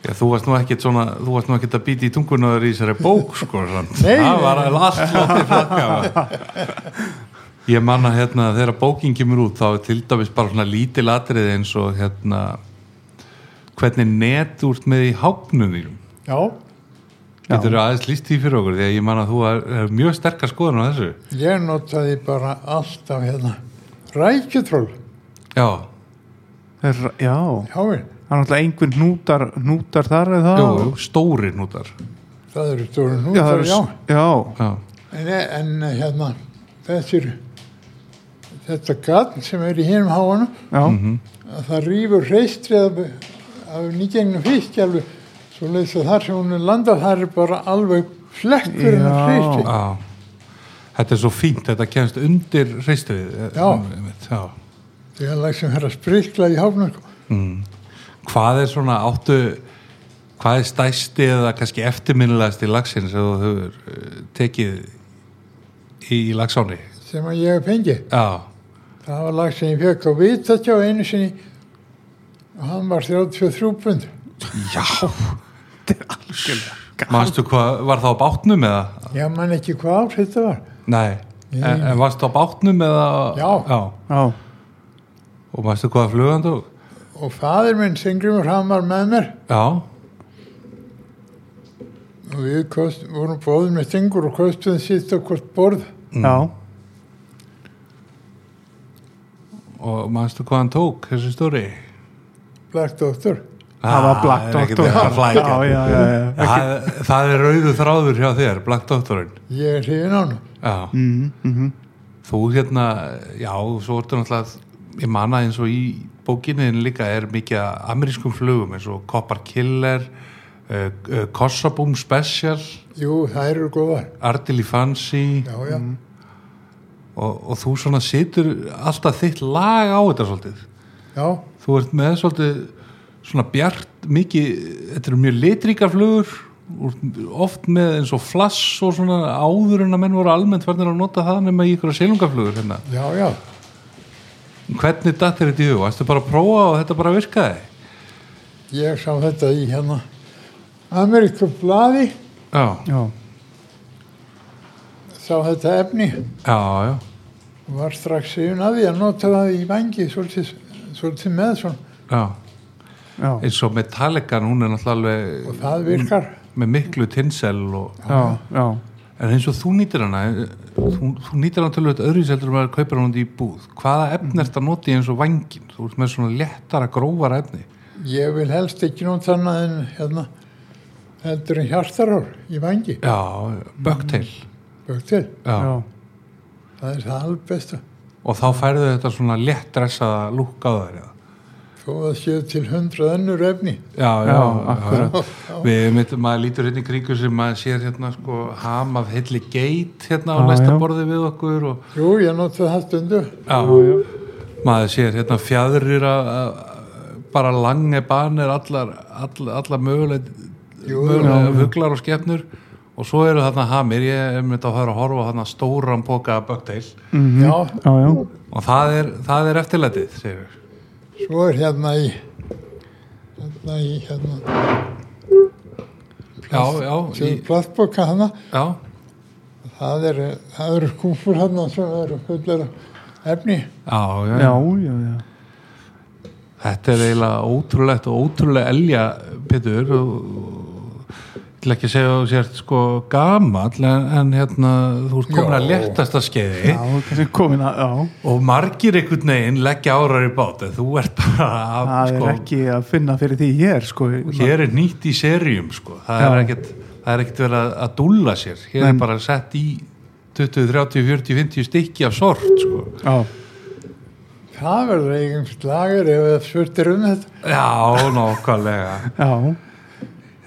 S2: já, þú varst nú ekkit svona, þú varst nú ekkit að býti í tungunaður í þessari bók sko. samt.
S3: Nei,
S2: Það
S3: nei.
S2: var alveg allt látið flakka. maður. Ég manna hérna, þegar bókin kemur út, þá er til dæmis bara svona lítil atrið eins og hérna, hvernig net úrt með í hápnum þínum.
S3: Já,
S1: Já.
S2: Getur þú aðeins líst því fyrir okkur því að ég man að þú er, er mjög sterkar skoðun á þessu
S3: ég notaði bara alltaf hérna rækjutról.
S2: Já,
S1: þeir, já.
S3: Já, ég,
S1: Það er náttúrulega einhvern hnútar, hnútar þar eða það?
S2: jú, jú, stóri nútar
S3: það eru stóru
S1: Já, það
S3: nútar,
S1: eru,
S3: já.
S1: s- já,
S2: Já,
S3: En, en hérna, þessir, þetta gatn sem er í hinum háanum,
S1: já,
S2: Mhm.
S3: að það rýfur hreistrið af, af nýgengnum fisk alveg svo leiðis að þar sem hún er landað þar er bara alveg flekkur en
S1: Já.
S3: hreistri
S2: já Þetta er svo fínt, þetta kemst undir reistvið
S3: Já.
S2: já.
S3: það er lag sem er að sprikla í háfnum
S2: Hvað er svona áttu hvað er stæsti eða kannski eftirminnilegasti lagsin sem þú hefur eh, tekið í lagsáni
S3: sem að ég hef fengið
S2: Já,
S3: það var lag sem ég fekk á vitatjá einu sinni og hann var 33 pund
S2: manstu hvað, var það á bátnum eða?
S3: ég man ekki hvað ár þetta var
S2: Nei,
S3: Nei.
S2: en, en varstu á bátnum eða?
S3: Já.
S1: já,
S2: Og manstu hvaða flugan þú?
S3: og fadir minn Singrimur hann var með mér
S2: Já,
S3: og við kost, vorum bóðið með Singur og kostuðum sitt á hvort borð
S2: Mm.
S1: já.
S2: og manstu hvað hann tók, þessi stóri?
S3: Black Doctor
S1: Það var Black
S2: Ah, er ekkert
S1: Doctor.
S2: verið að flækja.
S1: Já, já, já, já.
S2: Það, það er rauðu þráður hjá þér, Black Doctorinn.
S3: ég er hrifin á hann
S2: Já.
S1: Mm -hmm.
S2: Þú hérna, já, svo ertu náttúrulega, ég manna eins og í bókinni líka er mikið af amerískum flugum eins og Copper Killer, uh, uh, Kossabum Special,
S3: jú það eru góðar
S2: Ardili Fancy
S3: já já
S2: og, og þú svona situr alltaf þitt lag á þetta svolítið.
S3: Já,
S2: Þú ert með svolítið svona bjart mikið, þetta eru mjög litríkar flugur úr- oft með eins og flass og svona áður en að menn voru almennt verðin að nota það nema í ykkur selungaflugur hérna.
S3: já, já.
S2: Hvernig datt þér þetta í hug? Varstu bara að prófa og þetta bara virkaði?
S3: Ég sá þetta í hérna Ameríku blaði,
S2: Já,
S1: já,
S3: sá þetta efni
S2: já, já,
S3: og var strax yfirn að því að nota það í vangi svolítið, svolítið með svona
S2: já.
S1: já, já,
S2: Eins og Metallican, hún er náttúrulega
S3: og
S2: alveg
S3: það virkar.
S2: með miklu tinsel og,
S1: já, já.
S2: en eins og þú nýtir hana, þú, þú nýtir hana tölvöld öðru seldur maður kaupir hana út í búð. Hvaða efni ert að nota í eins og vangin? Þú ert með svona léttara, grófara efni.
S3: Ég vil helst ekki nota annað en hérna heldur en hjartarár í vangi,
S2: Já, Bucktail
S3: bök til.
S2: Mm. já.
S1: já.
S3: Það er það alveg besta.
S2: Og þá færðu þetta svona létt dressaða lúk á þær eða?
S3: Þó að séu til hundrað önnur efni.
S2: Já, já,
S1: Já,
S2: já,
S1: akkúrat.
S2: já. Við myndum að lítur hérna í kringu sem maður sér hérna sko ham af heilli geit hérna á
S1: Já,
S2: lestaborði við okkur og
S3: Jú, ég nota það stundu.
S2: já, maður sér hérna fjadrir að að- bara lange banir allar, allar, allar möguleg
S3: Jú,
S2: mögulega huglar og skefnur og og svo eru þarna hamir, ég er myndið að fara að horfa á þarna stóran póka af Bugtail
S3: Já,
S1: já, já,
S2: og það er, það er eftirlætið, segir við.
S3: svo er hérna í hérna í hérna
S2: Já, já, í,
S3: plattboka hana
S2: já,
S3: það eru það eru kúfur hana sem eru fullar af efni
S2: já, já,
S1: já, já, já.
S2: Þetta er eiginlega ótrúlegt og ótrúlega elja, Pétur, og ég ætla ekki að segja að þú sért sko gamall, en, en hérna, þú ert komin
S3: Já.
S2: að léttasta skeiði
S1: Já, kannski komin að, já,
S2: og margir einhvern veginn leggja árar í bát, en þú ert bara, að,
S1: það
S2: sko,
S1: er ekki að finna fyrir því hér, sko.
S2: hér er nýtt í serjum, sko, það
S1: Já.
S2: er ekkert, það er ekkert verið að, að dúlla sér, hér
S1: Nei.
S2: er bara sett í 20, 30, 40, 50 stykki af sort, sko.
S1: Já,
S3: það verður eigin lagar ef það svörtir um þetta
S2: Já, nákvæmlega.
S1: já,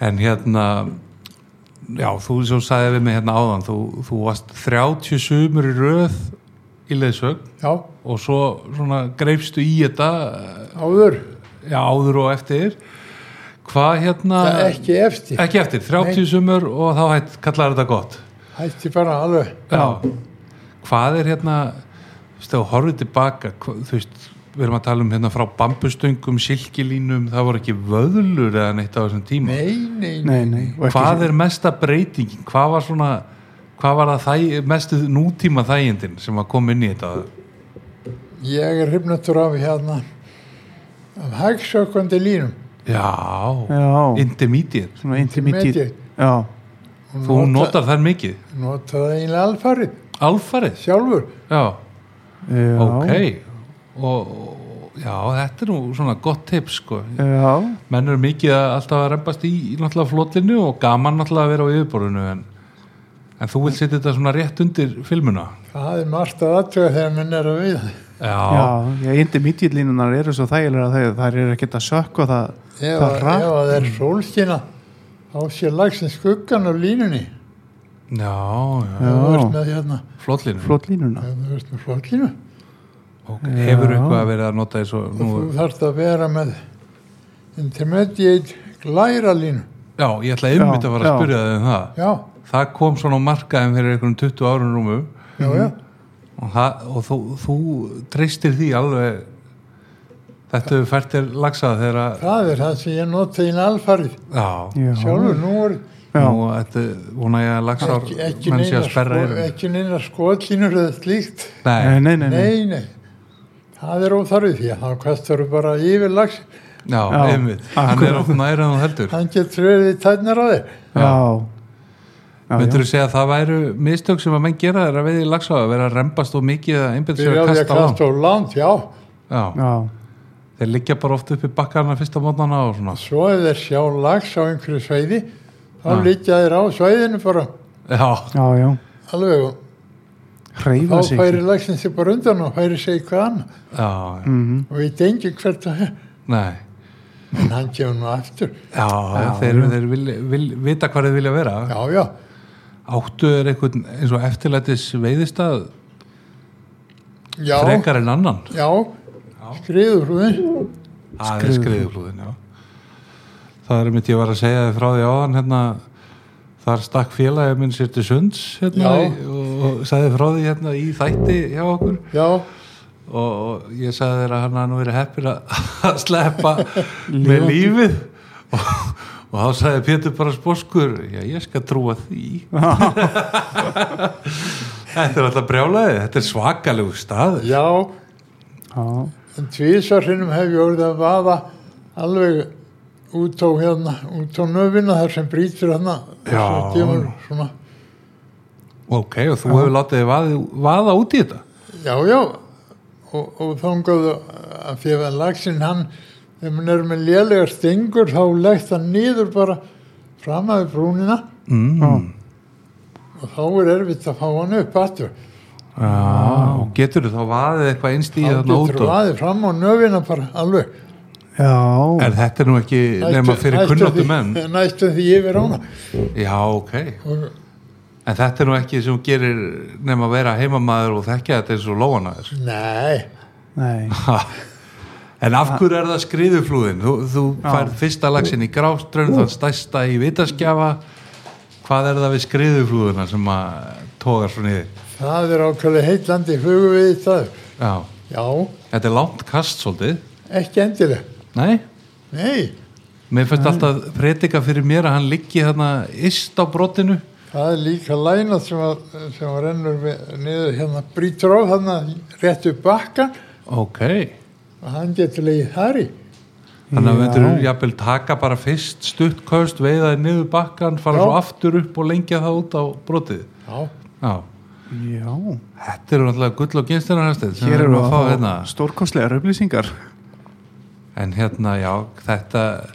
S2: En hérna, já, þú svo sagði við mig hérna áðan, þú, þú varst 30 sumur í röð í leðsögn
S3: já,
S2: og svo svona greifstu í þetta,
S3: áður
S2: já, áður og eftir. Hvað hérna,
S3: það er ekki eftir
S2: ekki eftir, 30 sumur og þá hætt, kallar þetta gott.
S3: hætti bara alveg
S2: Já. Hvað er hérna, þú veist, þú horfið tilbaka, hva- þú veist, við erum að tala um hérna frá bambustöngum, silkilínum, það voru ekki vöðlur eða neitt á þessum tíma.
S3: nei, nei, nei.
S1: nei, nei. og ekki-
S2: hvað er mesta breytingin hvað var svona hvað var það þæ, mestu nútíma þægindin sem að koma inn í þetta
S3: ég er hrifnatur af hérna af hægsökkandi línum
S2: já,
S1: Já,
S2: intermediate
S1: svona intermediate.
S3: Intermediate.
S1: Já,
S3: Hún
S2: þú
S3: nota-
S2: notar þær mikið,
S3: notaði eiginlega alfarið
S2: alfarið
S3: sjálfur
S2: já,
S1: já.
S2: ok og, og já, þetta er nú svona gott tips sko
S1: Já,
S2: menn eru mikið að alltaf að rempast í, í náttúrulega flotinu og gaman náttúrulega að vera á yfirborðinu en, en þú vil setja þetta svona rétt undir filmuna
S3: Það er margt að aðtöga þegar menn er að við.
S2: já,
S1: já, já intermediate línunar eru svo þægilega þegar þær eru ekkert að sökka það,
S3: Ef
S1: það
S3: að- ef
S1: rætt.
S3: að það er sólskina, þá sé lagsin skuggan á línunni.
S2: já, já.
S1: Já.
S3: Ef Þú ert með hérna,
S2: flotlinu
S1: Flott línuna.
S3: ef þú ert með flottlínu.
S2: Ok, hefur
S1: Já.
S2: eitthvað að vera að nota eins og nú,
S3: Þú þarfst að vera með intermediate glæra línu.
S2: já, ég ætla einmitt
S1: Já,
S2: að fara að
S1: já.
S2: spyrja þig um það
S3: Já,
S2: það kom svona á markaðin fyrir einhvern 20 árun rúmum
S3: já, já.
S2: Mhm. og, það, og þú, þú treystir því alveg þetta hefur fært þér lagsað þegar að
S3: Það er það sem ég notaði inn alfarið.
S2: já,
S1: Já,
S3: Sjálfur, nú er
S2: nú þetta vona ég að lagsar
S3: ekki, ekki
S2: menn sé að sperra
S3: sko-
S2: yfir
S3: ekki neina skotlínur eða slíkt.
S1: Nei,
S2: nei,
S1: nei, nei, nei.
S3: Nei, nei. Það er óþarfið því að þá kastar þú bara yfir lagsin.
S2: já,
S1: Já,
S2: einmitt hann er
S1: akkurat.
S2: ofn nærið en þú heldur
S3: Hann getur verið tætnar á þér.
S1: Já. Já, já.
S2: myndur þú segja að það væru mistök sem að menn gera þeirra við í lagsáð að vera að rempast og mikið að einbjönd sér að
S3: Byrjaði að
S2: kasta langt
S3: kasta á land, já.
S2: já,
S1: Já,
S2: þeir liggja bara oft upp í bakkarna fyrsta mótnana og svona
S3: Svo ef þeir sjá lags á einhverju sveiði, þá
S1: Ah.
S2: Já.
S3: liggja þeir á sveiðinu bara
S2: já,
S1: já, já.
S3: alveg og
S1: Hreyfa
S3: þá
S1: sig.
S3: færi lagsin sér bara undan og færi sig eitthvað annað
S2: já, já.
S1: Mhm.
S3: og veit engin hvert það er.
S2: nei
S3: En hann kemur nú aftur.
S2: Já, þeir, þeir vil, vil, vita hvað þeir vilja vera.
S3: Já, já,
S2: Áttu er einhvern eins og eftirlætis veiðistað
S3: já,
S2: frekar en annan.
S3: já, skriður hún.
S2: Það er skriðublúðin, já. Það er mitt ég var að segja þið frá því áðan hérna, þar stakk félagið minn sér til sunds hérna,
S3: Já.
S2: í- og, og sagði frá því hérna í þætti hjá okkur
S3: Já,
S2: og, og ég sagði þeir að hann að nú verið heppin að að sleppa með lífið og, og þá sagði Pétur bara spóskur, já ég skal trúa því. Þetta er alltaf brjálæði, þetta er svakalegu staður.
S3: já,
S1: Já,
S3: en tvísarsinnum hef ég orðið að vaða alveg út á hérna, út á nöfina þar sem brýtur hérna.
S2: Já.
S3: Svo kemur svona,
S2: Ok, og þú hefur látið þig vaði, vaða út í þetta?
S3: Já, já, og, og þangað að fyrir að laxinn hann, þegar hann er með lélegar stingur, þá leggt hann niður bara fram að brúnina
S1: já.
S2: Mm.
S3: og þá er erfitt að fá hann upp aftur.
S2: Já, og getur þú þá vaðið eitthvað einst í
S3: Þá
S2: þarna út
S3: getur
S2: og...
S3: vaðið fram á nöfina bara alveg.
S1: Já,
S2: En þetta er nú ekki nema fyrir
S3: Næstum-
S2: kunnáttu
S3: næstum
S2: menn.
S3: því- Næstum því yfir ána.
S2: Já, ok.
S3: Og,
S2: En þetta er nú ekki sem þú gerir nema að vera heimamaður og þekkja þetta eins og lóanaður.
S3: nei,
S1: nei.
S2: En af hverju er það skriðuflúðin? Þú, þú færð fyrsta lagsin í gráströnd, þann stærsta í vitaskjafa, Hvað er það við skriðuflúðuna sem að tógar svo niður?
S3: Það er ákveðlega heitlandi flugu við þetta.
S2: Já,
S3: Já,
S2: þetta er langt kast svolítið.
S3: ekki endilega.
S2: Nei,
S3: Nei,
S2: mér finnst alltaf predika fyrir mér að hann liggi þarna ist á brotinu.
S3: það er líka læna sem, að, sem að rennur við, niður hérna brýtur á hérna rétt upp bakkan
S2: Ok,
S3: og hann getur leið þar í.
S2: þannig að
S1: Já.
S2: við þurfum jafnvel taka bara fyrst stuttkaust, veiðaði niður bakkan, fara
S3: Já.
S2: svo aftur upp og lengja það út á brotið.
S3: Já,
S2: Já,
S1: Já,
S2: þetta eru náttúrulega gull og gynstinu hæstinn sem
S1: hér
S2: við
S1: eru
S2: erum að fá hérna.
S1: stórkostlegar upplýsingar
S2: En hérna, já, þetta,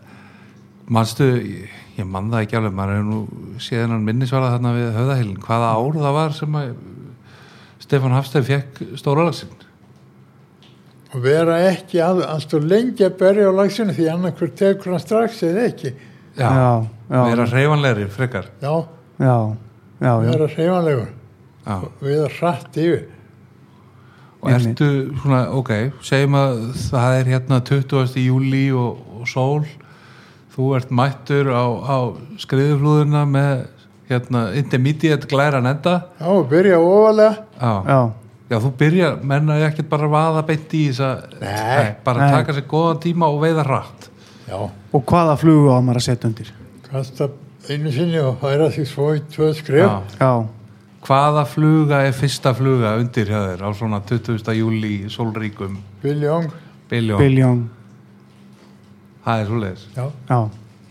S2: manstu, ég, ég man það ekki alveg, maður er nú síðan hann minnisvarað þarna við höfðahilin, hvaða ár það var sem að Stefán Hafstæð fekk stóralagsinn?
S3: og vera ekki all, allt og lengi að berja á lagsinu því annarkur tekur hann strax eða ekki.
S2: Já,
S1: Já, já.
S2: vera reyfanlegri, frekar.
S3: Já,
S1: Já, já, já
S3: vera hreyfanlegur
S2: Já.
S3: við að hratt yfir.
S2: Og ertu svona, ok, segjum að það er hérna 20. júli og, og sól, þú ert mættur á, á skriðuflúðuna með hérna intermediate glæran enda.
S3: Já, og byrja ofalega.
S2: Já.
S1: Já,
S2: Já, þú byrjar, menna ég ekkert bara að vaða beint í þess að
S3: Nei.
S2: bara
S1: Nei.
S2: taka sér góðan tíma og veiða hratt
S3: Já,
S1: og hvaða flugu á maður að setja undir
S3: kasta einu sinni og færa sig svo í tvö
S2: Já.
S3: skref.
S1: Já,
S2: Hvaða fluga er fyrsta fluga undir hjá þér á svona 20. júli sólríkum
S3: Biljón,
S2: biljón?
S1: biljón
S2: Það er svoleiðis.
S3: já,
S1: Já,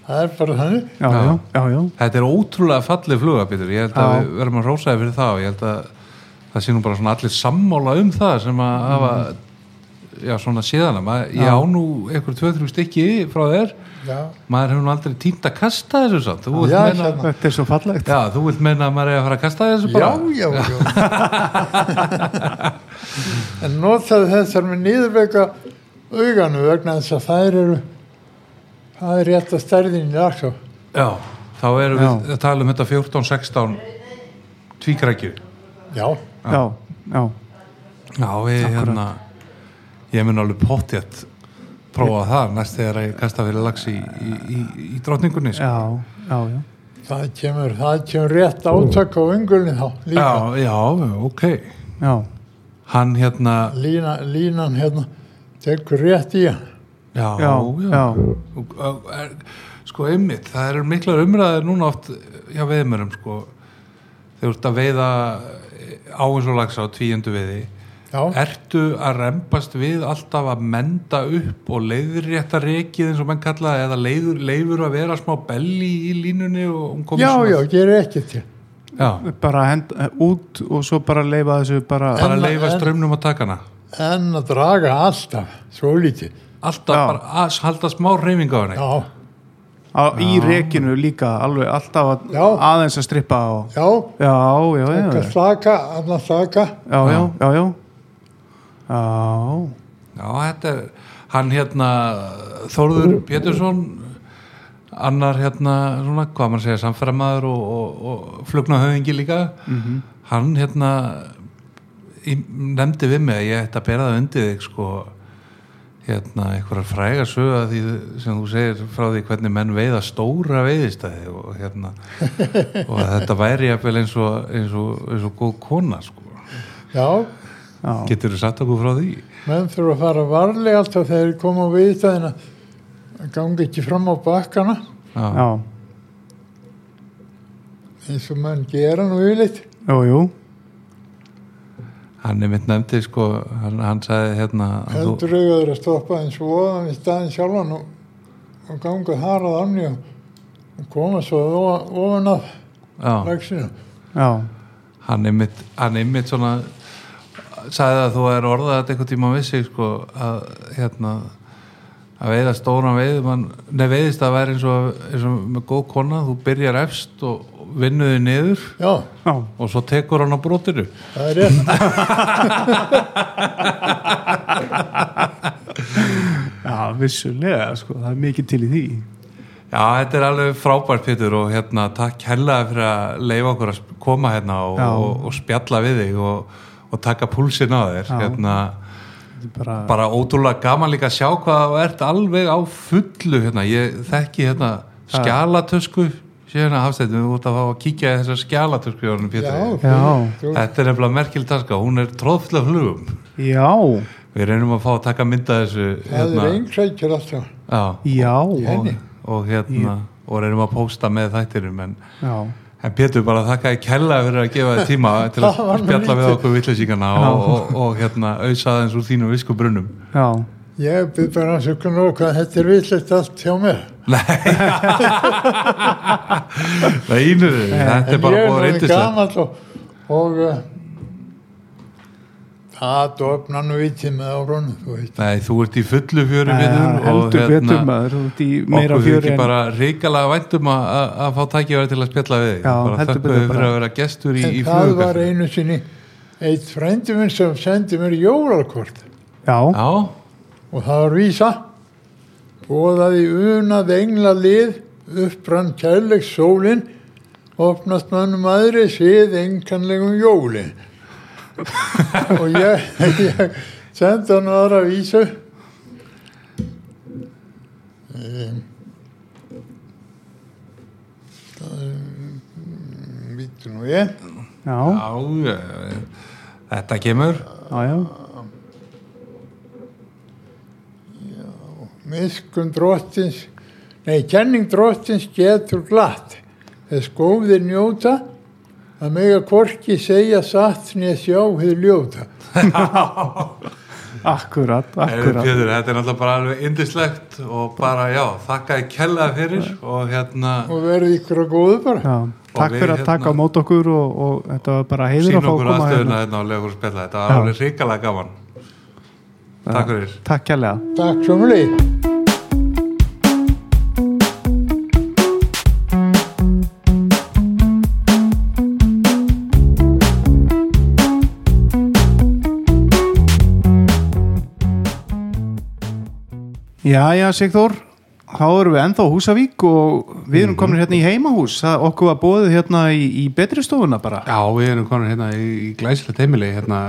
S3: það er bara þannig.
S1: já,
S2: Já.
S1: já, já, já.
S2: Þetta er ótrúlega fallið fluga, Pítur. Ég held
S1: Já.
S2: að við verðum að rósa þér fyrir það og ég held að það sé nú bara svona allir sammála um það sem að hafa já, svona síðan. Maður, ég á nú einhver 2-3 stykki frá þér.
S3: Já,
S2: Maður hefur nú aldrei tímt að kasta þessu samt. Þú ert
S3: Já,
S2: meina-
S3: hérna.
S1: Þetta er svo fallegt
S2: Já, þú vilt meina að maður er að fara að kasta þessu bara?
S3: já, já, já. en notaði þessar með nýðurveika auganu vegna þess að þær eru, það er rétt að stærðin í dagsá.
S2: Já, þá erum við
S1: Já.
S2: að tala um þetta 14-16 tvíkrækju.
S3: Já,
S1: Já, já,
S2: Já, við hérna, ég mun alveg pottjætt prófa það næst þegar ég kasta fyrir lags í, í, í, í drotningunni. sko.
S1: já, já, já.
S3: það kemur, það kemur rétt átök á ungulni þá líka.
S2: já, já, ok.
S1: já.
S2: Hann hérna,
S3: Lína, línan hérna tekur rétt í hann.
S2: já,
S1: Já, já.
S2: Og, og, er, sko einmitt, það eru miklar umræðir núna oft hjá veðmurum, sko. Þegar þú ert að veiða á eins og lags á tvíundu veiði.
S3: Já,
S2: Ertu að rempast við alltaf að menda upp og leiðrétta rekið eins og menn kalla það, eða leiður, leifur að vera smá belli í línunni og hún komið
S3: já, já,
S2: svona
S3: gerir ekki til.
S2: já.
S1: Bara hend út og svo bara leifa þessu bara
S2: bara
S3: En-
S2: að leifa
S3: en-
S2: strömmnum að taka hana
S3: En að draga alltaf, svo lítið.
S2: alltaf
S1: Já.
S2: bara að halda smá reyfing á henni
S3: Já,
S1: á, í rekinu líka alveg alltaf að,
S3: Já.
S1: aðeins að strippa og
S3: já,
S1: Já, já, já, já,
S3: eitthvað slaka, annað slaka.
S1: já, já, já, já. Já,
S2: já, þetta er hann hérna Þórður Pétursson annar hérna svona, hvað maður segja, samferðamaður og, og, og flugnahöfingi líka hann hérna í- nefndi við mig að ég ætti að bera það undir þig sko hérna einhverjar frægar sögða því sem þú segir frá því hvernig menn veiða stóra veiðistæði og hérna og að þetta væri jafnvel eins og eins og, eins og góð kona sko
S3: Já,
S1: já,
S2: getur þú satt okkur frá því?
S3: menn þurfa að fara varlega alltaf þegar þeir koma á viðstæðina gangi ekki fram á bakkana
S2: Já,
S1: já,
S3: eins og menn gera nú yfirleitt
S1: jú, jú,
S2: hann er mitt nefndi sko hann, hann sagði hérna að þú-
S3: heldur auðvitað þeir að stoppa eins og oðan í staðin sjálfan og, og ganga harað amni og, og koma svo o- ofan af
S2: Já,
S3: lagsinu
S1: já,
S2: hann einmitt, hann einmitt svona sagði að þú er orðað þetta einhvern tíma vissi sko að hérna að veiða stóran veiðumann nei veiðist að væri eins og, eins og með góð kona, þú byrjar efst og vinnuði niður
S3: já,
S1: já,
S2: og svo tekur hann á brotinu
S3: það er rétt
S1: já, vissulega, sko, það er mikið til í því.
S2: Já, þetta er alveg frábært Pétur og hérna takk hella fyrir að leifa okkur að sp- koma hérna og,
S1: Já.
S2: og, og spjalla við þig og, og taka púlsinn á þér
S1: Já.
S2: hérna
S1: Þetta er bara,
S2: bara ótrúlega gaman líka að sjá hvað það ert alveg á fullu hérna. ég þekki hérna skjalatösku Sjöna Hafstættin, þú ert að fá að kíkja í þessar skjálaturkjóðunum, Pétur.
S1: Já.
S3: þú-
S2: Þetta er nefnilega merkileg taska, hún er tróðfull af flugum.
S1: Já,
S2: Við reynum að fá að taka mynda þessu. hérna.
S3: það er einsækjur alltaf
S2: Já,
S1: já,
S2: og,
S3: Henni.
S2: og hérna, og reynum að pósta með þættinum, en,
S1: já.
S2: en Pétur bara þakka í kella fyrir að gefa þér tíma til að
S3: Það var nú
S2: spjalla við
S3: lítið.
S2: okkur vitleysíkana og, og, og hérna, auðsaða eins úr þínu visku brunnum.
S1: já.
S3: ég byrð bara að sökja nú hvað þetta er vitlægt allt hjá mér
S2: Það ínur, þetta er
S3: Eh, en
S2: bara búið
S3: ég er nú
S2: reyndislegt.
S3: gamall og, og uh, það dofna nú viti með árunum þú veit
S2: Nei, þú ert í fullu fjöru
S1: Eh,
S2: Pétur, og
S1: Heldur betur
S2: hérna,
S1: maður, þú ert í meira
S2: okkur við
S1: fjöri
S2: ekki
S1: en...
S2: bara reikalega væntum að, að- að fá tækifæri til að spjalla við þig.
S1: Já,
S2: bara
S1: heldur
S2: þökkum
S1: betur
S2: við fyrir
S1: bara.
S2: að vera gestur í,
S3: en
S2: í
S3: það var
S2: flugugastinu.
S3: einu sinni eitt frendi minn sem sendi mér jólakort
S1: Já,
S2: Já,
S3: og það var vísa bóðaði unað engla lið upprann kærleik sólin opnast mannum aðri séð enganlegum jólin og ég, ég sendi hann aðra vísu um, Vítu mm, nú ég
S1: já,
S2: já, eh, þetta kemur.
S1: já, já.
S3: Miskun drottins, nei, kenning drottins getur glatt. Þess góðir njóta, að mega hvorki segja satt nýja sjá hið ljóta.
S1: Akkurat,
S2: Heyrðu,
S1: akkurat.
S2: Pétur, þetta er náttúrulega bara alveg indislegt og bara, já, þakka í kella fyrir og hérna,
S3: Og verði ykkur að góðu bara.
S1: Já. Takk
S2: við
S1: fyrir að taka á
S2: hérna-
S1: mót okkur og, og þetta var bara heiður að
S2: sín
S1: fá að
S2: okkur
S1: koma
S2: aðstöðuna
S1: hérna.
S2: hérna og lega okkur spjalla. Þetta
S1: Já.
S2: var alveg reikalega gaman. Takk fyrir.
S1: Takk kærlega.
S3: Takk svo mjög leið.
S1: Já, já, Sigþór, þá erum við ennþá á Húsavík og við erum komin hérna í heimahús, það okkur var bóðið hérna í, í betri stofuna bara.
S4: Já, við erum konar hérna í, í glæsilegt heimili hérna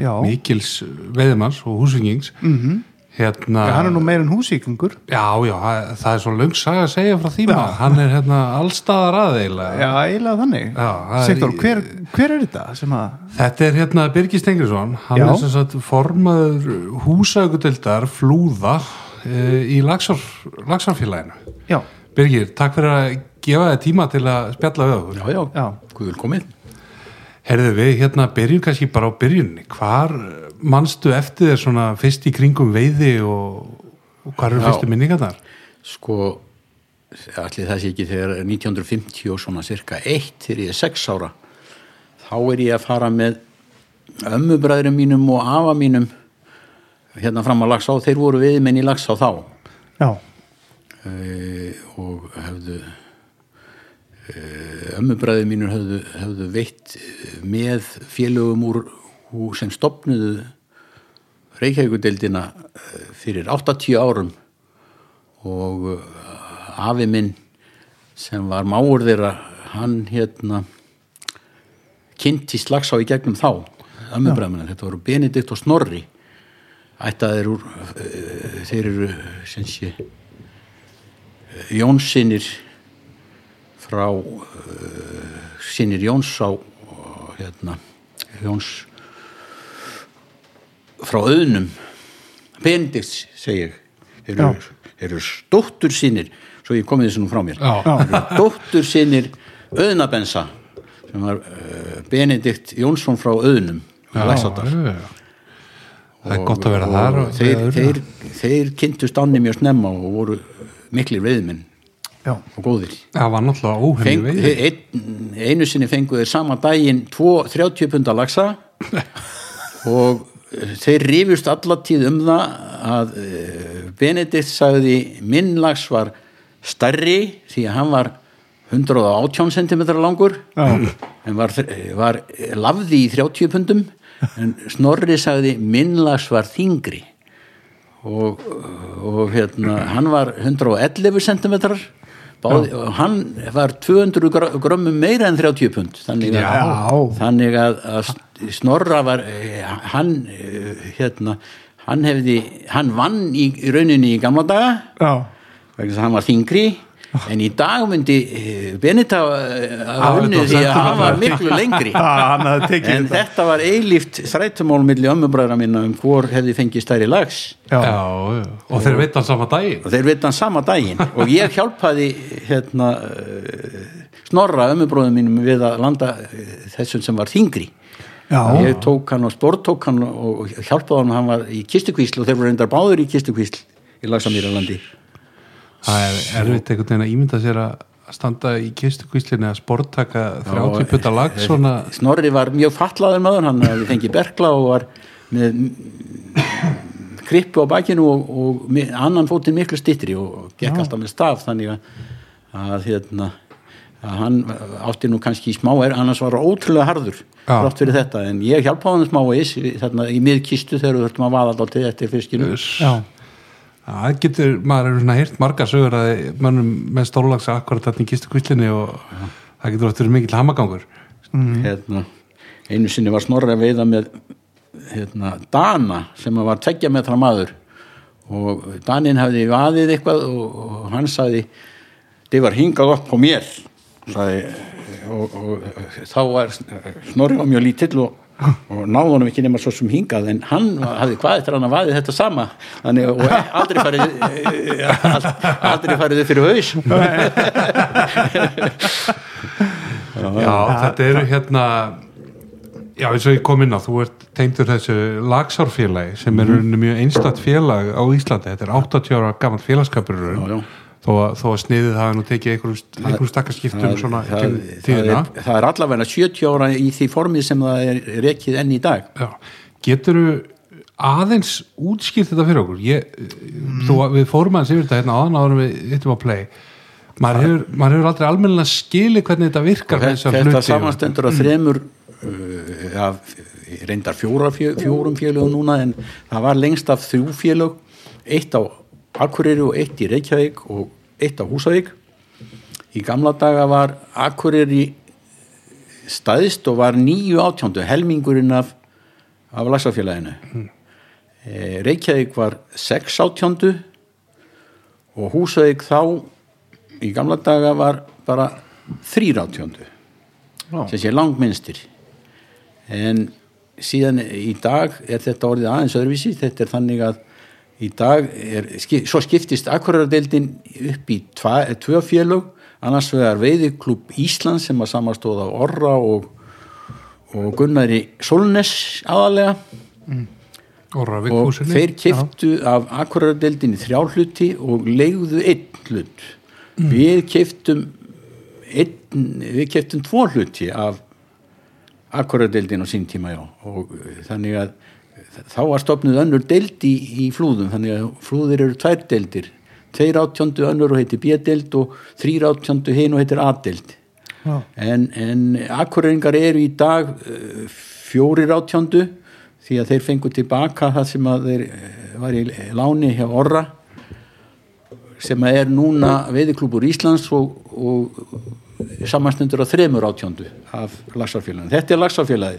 S1: Já,
S4: Mikils Veðimanns og Húsvingings -hmm. hérna,
S1: En hann er nú meir en húsvíkingur.
S4: já, já, það- það er svo löng saga að segja frá því
S1: Já.
S4: maður, hann er hérna allstaðar aðeigilega
S1: Já, eiginlega þannig.
S4: Já, það er
S1: Sigþór,
S4: í-
S1: hver, hver er þetta sem að...
S4: Þetta er hérna Birgir Stengriðsson, hann
S1: Já.
S4: er sem sagt formaður húsaugudildar flúða e, í Laxar, Laxarfélaginu.
S1: Já,
S4: Birgir, takk fyrir að gefa þér tíma til að spjalla við okkur.
S5: Já, já,
S1: já,
S5: guðul komið.
S4: Herðu við hérna byrjum kannski bara á byrjunni. Hvar eh, manstu eftir þér svona fyrst í kringum veiði og, og hvað eru
S5: Já.
S4: fyrstu minningarnar?
S5: Sko, allir það sé ekki þegar 1950 og svona cirka eitt þegar ég er sex ára. Þá er ég að fara með ömmubræðurum mínum og afa mínum hérna fram á Laxá. Þeir voru viðmenn í Laxá þá
S1: já,
S5: e, og hefðu e, ömmubræður mínur hefðu, hefðu veitt eh, með félögum úr úr- sem stopnuðu Reykjavíkudeldina eh, fyrir 80 árum og eh, afi minn sem var máur þeirra hann hérna kynnt í slagsá í gegnum þá ömmubræðmina, þetta voru Benedikt og Snorri ættaðir úr uh, þeir eru sem sé Jónsinir frá uh, sinir Jóns á á, hérna, Jóns frá auðnum Benedikts segi ég þeir eru, þeir eru stóttur sinir svo ég komið þessu nú frá mér
S4: Já.
S5: þeir eru stóttur sinir auðnabensa sem var uh, Benedikt Jónsson frá auðnum Laxárdal.
S4: já, já. Það er gott að vera þar.
S5: og þeir, þeir, þeir kynntust ánni mjög snemma og voru miklir veiðmenn
S1: já,
S5: og góðir
S4: Það var náttúrulega óhemmi
S5: Fengu,
S4: veiði.
S5: ein, einu sinni fengu þeir sama daginn tvo 30 punda laxa og eh, þeir rifust alla tíð um það að eh, Benedikt sagði minn lax var stærri því að hann var 118 cm langur
S1: Já.
S5: en var, þr- var eh, lafði í 30 pundum en Snorri sagði minn lax var þingri og, og hérna, hann var 111 cm báði, og hann var 200 gr- grömmum meira en 30 pund þannig að,
S1: Já.
S5: þannig að, að snorra var eh, hann eh, hérna, hann hefði hann vann í, í rauninni í gamla daga
S1: já,
S5: vegna þess að hann var þingri en í dag myndi eh, Benita eh, hafa
S2: Hafa
S5: unnið
S2: þetta
S5: því að
S2: á
S5: hafa miklu lengri
S1: hann hafði tekið
S5: en þetta var eilíft þrætumál milli ömmubræðra minna um hvor hefði fengið stærri lags
S2: já, já. og þeir veit hann sama daginn
S5: og þeir veit hann sama daginn og ég hjálpaði hérna eh, snorra ömmubróðum mínum við að landa eh, þessum sem var þingri
S1: já,
S5: ég tók hann og spórtók hann og hjálpaði hann, hann var í kistukvísl og þeir voru reyndar báður í kistukvísl í Lagsamýralandi
S2: það er erfitt einhvern veginn að ímynda sér að standa í kistukvíslinni að sportaka 30 putta lag svona
S5: Snorri var mjög fatlaður maður hann hafði fengið berkla og var með mm, krippu á bakinu og, og mi- annan fótinn miklu stittri og gekk alltaf með staf þannig að, að, hérna, að hann átti nú kannski í smá er, annars var hann ótrúlega harður
S2: Já.
S5: rátt fyrir þetta en ég hjálpaði hann smá eis þarna, í miðkistu þegar við þurftum að vaða alltaf til eftir fiskinu
S1: já,
S2: Það getur, maður er svona hýrt marga sögur að mönnum með stórlags akkurat þarna í kistukvíslinni og það getur oft verið mikill hamagangur
S5: hérna, einu sinni var snorri að veiða með hérna, Dana sem var tveggja metra maður og Danin hafði vaðið eitthvað og, og hann sagði þið var hingað upp á mér sagði, og, og, þá var snorri var mjög lítill og, og náði honum ekki nema svo sem hingað en hann hafði hvað eftir hann að vaðið þetta sama Þannig, og aldrei farið aldrei farið upp fyrir haus
S2: Já, þetta eru hérna Já, eins og ég kom inn á, þú ert tengdur þessu lagsárfélagi sem
S5: Mhm.
S2: er mm. mjög einstætt félag á Íslandi þetta er 80 ára gammal félagskapur í raun.
S5: Já, já.
S2: þó, að- þó að sniðið hafi nú tekið einhverjum einhver stakkarskiptum svona í
S5: það,
S2: gegnum
S5: það,
S2: tíðina.
S5: er, það er allavega 70 ára í því formið sem það er rekið enn í dag
S2: Já, geturðu aðeins útskýrt þetta fyrir okkur ég, þú, við fórum aðeins yfir þetta hérna áðan áður en við hittum á play maður hefur, maður hefur aldrei almennilega skili hvernig þetta virkar með
S5: þetta,
S2: þessar
S5: þetta
S2: hluti og-
S5: samanstendur að þremur uh, af, reyndar fjóra, fjö, fjórum félög núna en það var lengst af þrjú félög eitt á Akureyri og eitt í Reykjavík og eitt á Húsavík í gamla daga var Akureyri staðist og var nýju átjándu helmingurinn af, af lagsafélaginu
S2: Hmm.
S5: Eh, Reykjavík var 6 átjándu og Húsavík þá í gamla daga var bara 3 átjándu sem sé langminnstir en síðan í dag er þetta orðið aðeins öðruvísi þetta er þannig að í dag er, skip- svo skiptist akkuradeildin upp í tva, tvö félög annars vegar veiðiklub Íslands sem að samastóða Orra og, og Gunnari Solnes aðalega
S2: Orra
S5: og
S2: Vigfúsinni.
S5: þeir keftu af akkuradeldinni þrjá hluti og leiðu einn hlut við keftum einn, við keftum tvo hluti af akkuradeldin á sín tíma já og eh, þannig að eh, þá var stofnuð önnur deild í, í flúðum þannig að flúðir eru tvær deildir tveir átjöndu önnur og heitir B-deild og þrýr átjöndu hin og heitir A-deild
S1: já.
S5: en, en akkurringar eru í dag eh, fjórir átjándu því að þeir fengu tilbaka það sem að þeir eh, var í láni hjá Orra sem að er núna veiðiklúbur Íslands og, og samanstendur á þremur átjándu af lagsafélagin. Þetta er lagsafélagi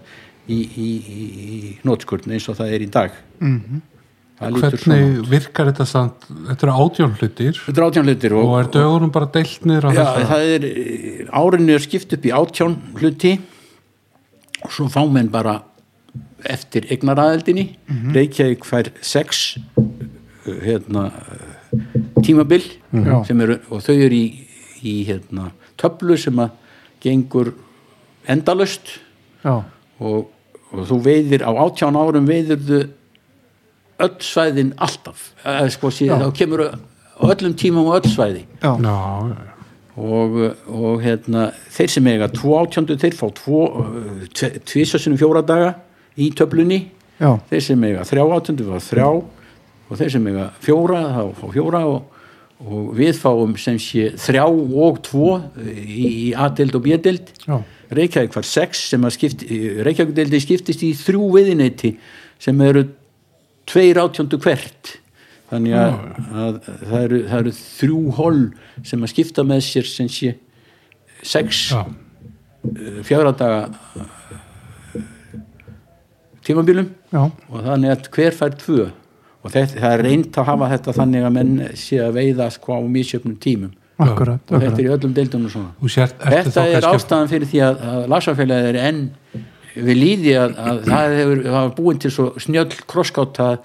S5: í, í, í, í nótskurn eins og það er í dag. Mm -hmm.
S2: Mhm. hvernig virkar þetta samt þetta eru átjón hlutir
S5: Þetta er átjánlutir
S2: og er dögunum bara deilt niður á
S5: Já,
S2: þessa-
S5: það er, eh, árinu er skipt upp í átján hluti og svo fá menn bara eftir eignaraðeldinni Reykjavík fær sex eh, hérna eh, tímabil sem eru, og þau eru í, í hérna, töflu sem að gengur endalust
S1: já.
S5: og, og þú veiðir á átján árum veiðirðu öll svæðin alltaf eða sko síðan þá kemur á öllum tímum á öll svæði
S1: já.
S2: Já, já.
S5: og, og hérna, þeir sem eiga tvo átjöndu þeir fá tvo eh, tvisasunum fjóra daga í töflunni
S1: Já.
S5: þeir sem eiga þrjá átjöndu fá þrjá og þeir sem eiga fjóra þá fá fjóra og, og við fáum sem sé þrjá og tvo í, í A-deild og B-deild
S1: Já.
S5: Reykjavík var sex sem að skipti Reykjavík-deildi skiptist í þrjú viðineyti sem eru tveir átjöndu hvert þannig að, að það, eru, það eru þrjú hol sem að skipta með sér sem sé sex
S2: Já.
S5: fjögra daga eh, tímabilum
S1: já.
S5: og þannig að hver fær tvö og þetta, það er reynd að hafa þetta þannig að menn sé að veiða sko á misjöfnum tímum
S1: akkurat,
S5: og þetta
S1: akkurat.
S5: er í öllum deildunum svona
S4: Þú sért, ertu
S5: þetta
S4: þá
S5: er
S4: kannski-
S5: ástæðan fyrir því að, að lagsafélagið er enn við líði að, að það hefur það var búin til svo snjöll krosskátt að,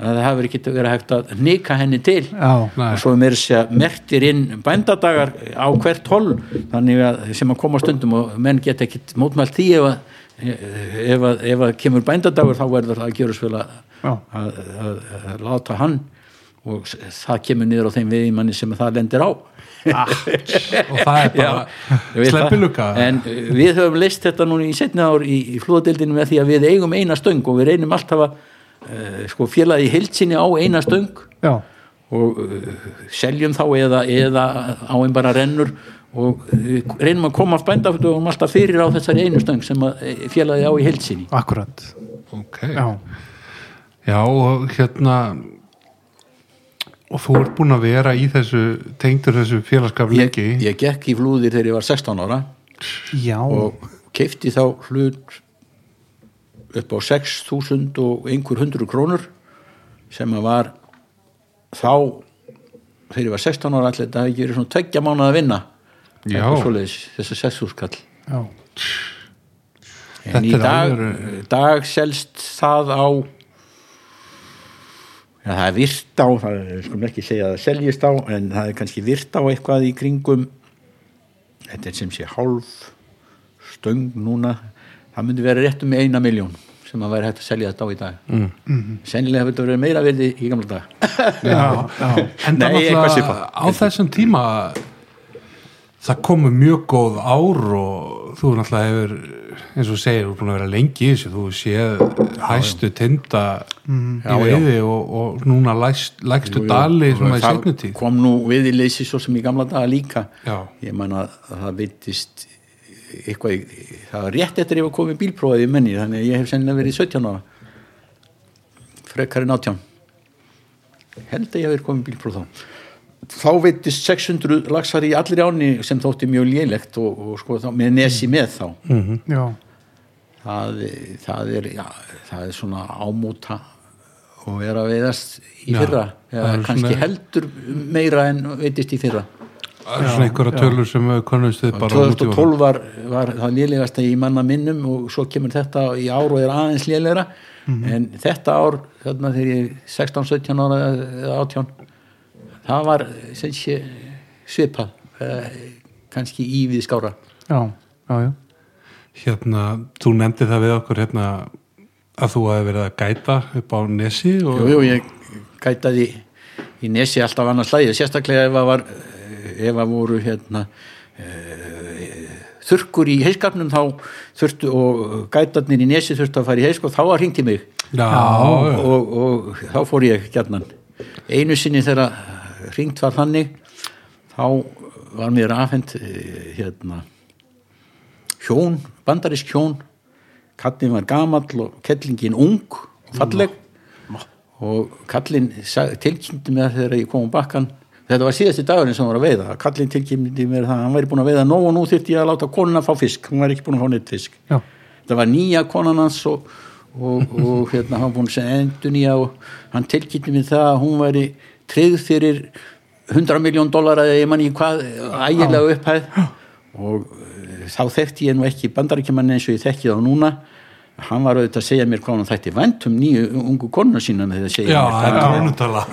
S5: að það hefur ekki verið hægt að nika henni til
S1: Já.
S4: Nei.
S5: og svo er meira að segja mertir inn bændadagar á hvert hol þannig að sem að koma stundum og menn geta ekkit mótmælt því ef að ef að, ef að kemur bændadagur þá verður það að gjöra svila
S1: Já.
S5: að, að, að, að láta hann og s- það kemur niður á þeim viðmanni sem það lendir á
S4: og það er
S5: Já, ég
S4: bara
S5: veit
S4: sleppiluka
S5: það. en uh, við höfum leist þetta núna í setna ár í, í flóðadeildinu með því að við eigum eina stöng og við reynum alltaf að uh, sko, félagi hildsinni á eina stöng
S1: Já.
S5: og uh, seljum þá eða, eða á einn bara rennur og uh, reynum að koma bændafötum alltaf fyrir á þessari einu stöng sem að eh, félagi á í hildsinni
S1: akkurat
S4: ok,
S1: já.
S4: Já, og hérna og þú ert búin að vera í þessu tengdur þessu félagskap
S5: ég,
S4: lengi
S5: ég gekk í flúðir þegar ég var 16 ára
S1: já,
S5: og keifti þá hlut upp á 6.000 og einhver hundru krónur sem að var þá þegar ég var 16 ára allir þetta hafi ekki verið svona tveggja mánuð að vinna
S4: Já.
S5: Eitthvað svoleiðis, þessi 6.000 kall
S1: já.
S5: en
S4: Þetta
S5: í
S4: er
S5: dag,
S4: alvöru-
S5: dag selst það á já, það er virt á það er skulum ekki segja að það seljist á en það er kannski virt á eitthvað í kringum þetta er sem sé hálf stöng núna það myndi vera rétt um eina miljón sem að vera hægt að selja þetta á í dag mm. sennilega hefur þetta verið meira verði í gamla dag
S4: Já, en
S5: Nei,
S4: það
S5: eitthvað
S4: náttúrulega
S5: svipað.
S4: á þessum tíma það komu mjög góð ár og þú náttúrulega hefur eins og þú segir, þú er búin að vera lengi í þessu þú séð hæstu tinda í
S5: Mm. Já, já.
S4: veiði og, og núna læst, lægstu
S5: Jú, jú.
S4: dali svona í
S5: Það
S4: setni tíð
S5: kom nú við í leysi svo sem í gamla daga líka
S4: Já.
S5: ég man að það vittist eitthvað, í- það var rétt eftir að ég var komið bílprófaði í menni þannig að ég hef sennilega verið 17 ára frekar en 18 held að ég hef verið komið bílpróf þá þá veittist 600 laxar í allir áni sem þótti mjög lélegt og, og sko þá með nesi með þá
S1: já.
S5: það, það er já, það er svona ámóta og vera að veiðast í
S4: Já,
S5: fyrra eða
S4: það er
S5: kannski
S4: svona-
S5: heldur meira en veitist í fyrra
S4: Það eru svona einhverja tölur sem við konumst þið bara á nútímanum.
S5: 2012 var, var það lélegasta í manna minnum og svo kemur þetta í ár og er aðeins lélegra
S4: Mhm.
S5: en þetta ár, þarna þegar ég 16, 17 ára eða 18 það var sem sé svipað eh, kannski í við skára
S1: já, já, já.
S4: hérna, þú nefndi það við okkur hérna að þú hafi verið að gæta upp á Nesi og
S5: Jú, jú, ég gætaði í nesi alltaf annars lagi, sérstaklega ef að var eh, ef að voru hérna eh, þurrkur í heiskapnum þá þurftu og gætarnir í nesi þurftu að fara í heisk og þá að hringti mig
S4: Já, já.
S5: og, og þá fór ég gjarnan einu sinni þegar hringt var þannig þá var mér afhend eh, hérna hjón, bandarisk hjón kallin var gamall og kettlingin ung og falleg
S4: Mm,
S5: og kallin sag- tilkynnti mér þegar ég kom á bakkan þetta var síðasti dagurinn sem hann var að veiða kallin tilkynnti mér það að hann væri búin að veiða nóg og nú þyrfti ég að láta konuna fá fisk hún var ekki búin að fá neitt fisk
S1: Já.
S5: þetta var nýja konan hans og, og, og hérna hann var búin að segja endur nýja og hann tilkynnti mér það að hún væri tryggð fyrir 100 miljón dólar eða ég man ekki hvað ægilega upphæð og eh, þá þekkti ég nú ekki bandarækjumann eins og ég þekki þá núna hann var auðvitað að segja mér hvað hann þætti vænt um nýju ungu konuna sína með því að segja
S4: já, það
S5: mér
S4: er krónutala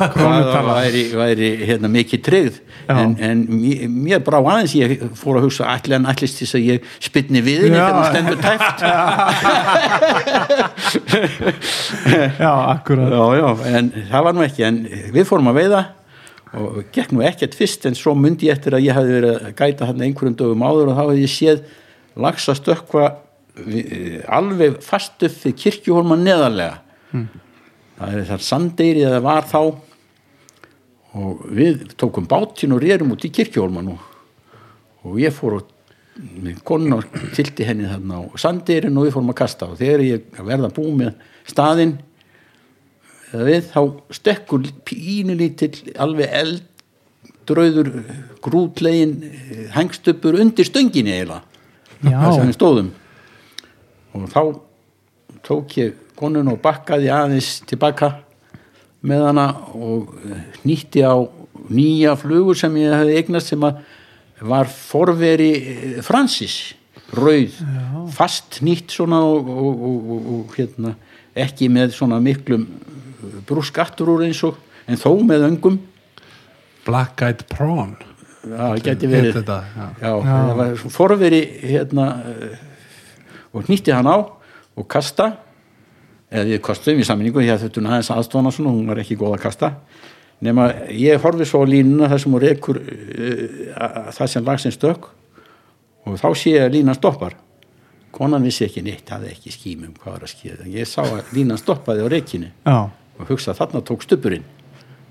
S5: það væri, væri hérna, mikið tryggð en, en mér- mér brá aðeins ég fór að hugsa allir en allist þess að ég spynni við henni
S1: Já.
S5: þegar hún stendur tæft
S1: já, akkurat
S5: já, já, en það var nú ekki en við fórum að veiða og gekk nú ekkert fyrst en svo myndi ég eftir að ég hefði verið að gæta hann einhverjum dögum áður og þá hefði ég séð lagsa stökkva við- eh, alveg fast upp við kirkjuhólma neðarlega það er þar sandeyri eða var þá og við tókum bátinn og rerum út í kirkjuhólman og, og ég fór og með konun og tilti henni þarna á sandeyrin og við fórum að kasta og þegar ég að verða búið með staðinn eða við þá stekkur pínu lítill alveg eld drauður grútlegin hengstupur eh, undir stönginni eiginlega
S1: Já.
S5: þar sem við stóðum og þá tók ég konun og bakkaði aðeins tilbaka með hana og eh, hnýtti á nýja flugur sem ég hefði eignast sem að var forveri eh, Francis rauð, fast nýtt svona og, og, og, og, og hérna, ekki með svona miklum brúskattur úr eins og en þó með öngum
S4: Black Eyed Prawn
S5: Já, það gæti verið
S4: Hét þetta, já.
S5: já. það var svo forveri hérna eh, og hnýtti hann á og kasta eða við kastum í sammenningu því að þetta hún aðeins aðstofna svona, hún var ekki góð að kasta nema ég horfi svo á línuna þar sem hún rekur uh, það sem lagsinn stök og þá sé ég að línan stoppar konan vissi ekki neitt, hafði ekki skýmum hvað var að skýða, ég sá að línan stoppaði á reikinu
S1: já,
S5: og hugsa að þarna tók stupurinn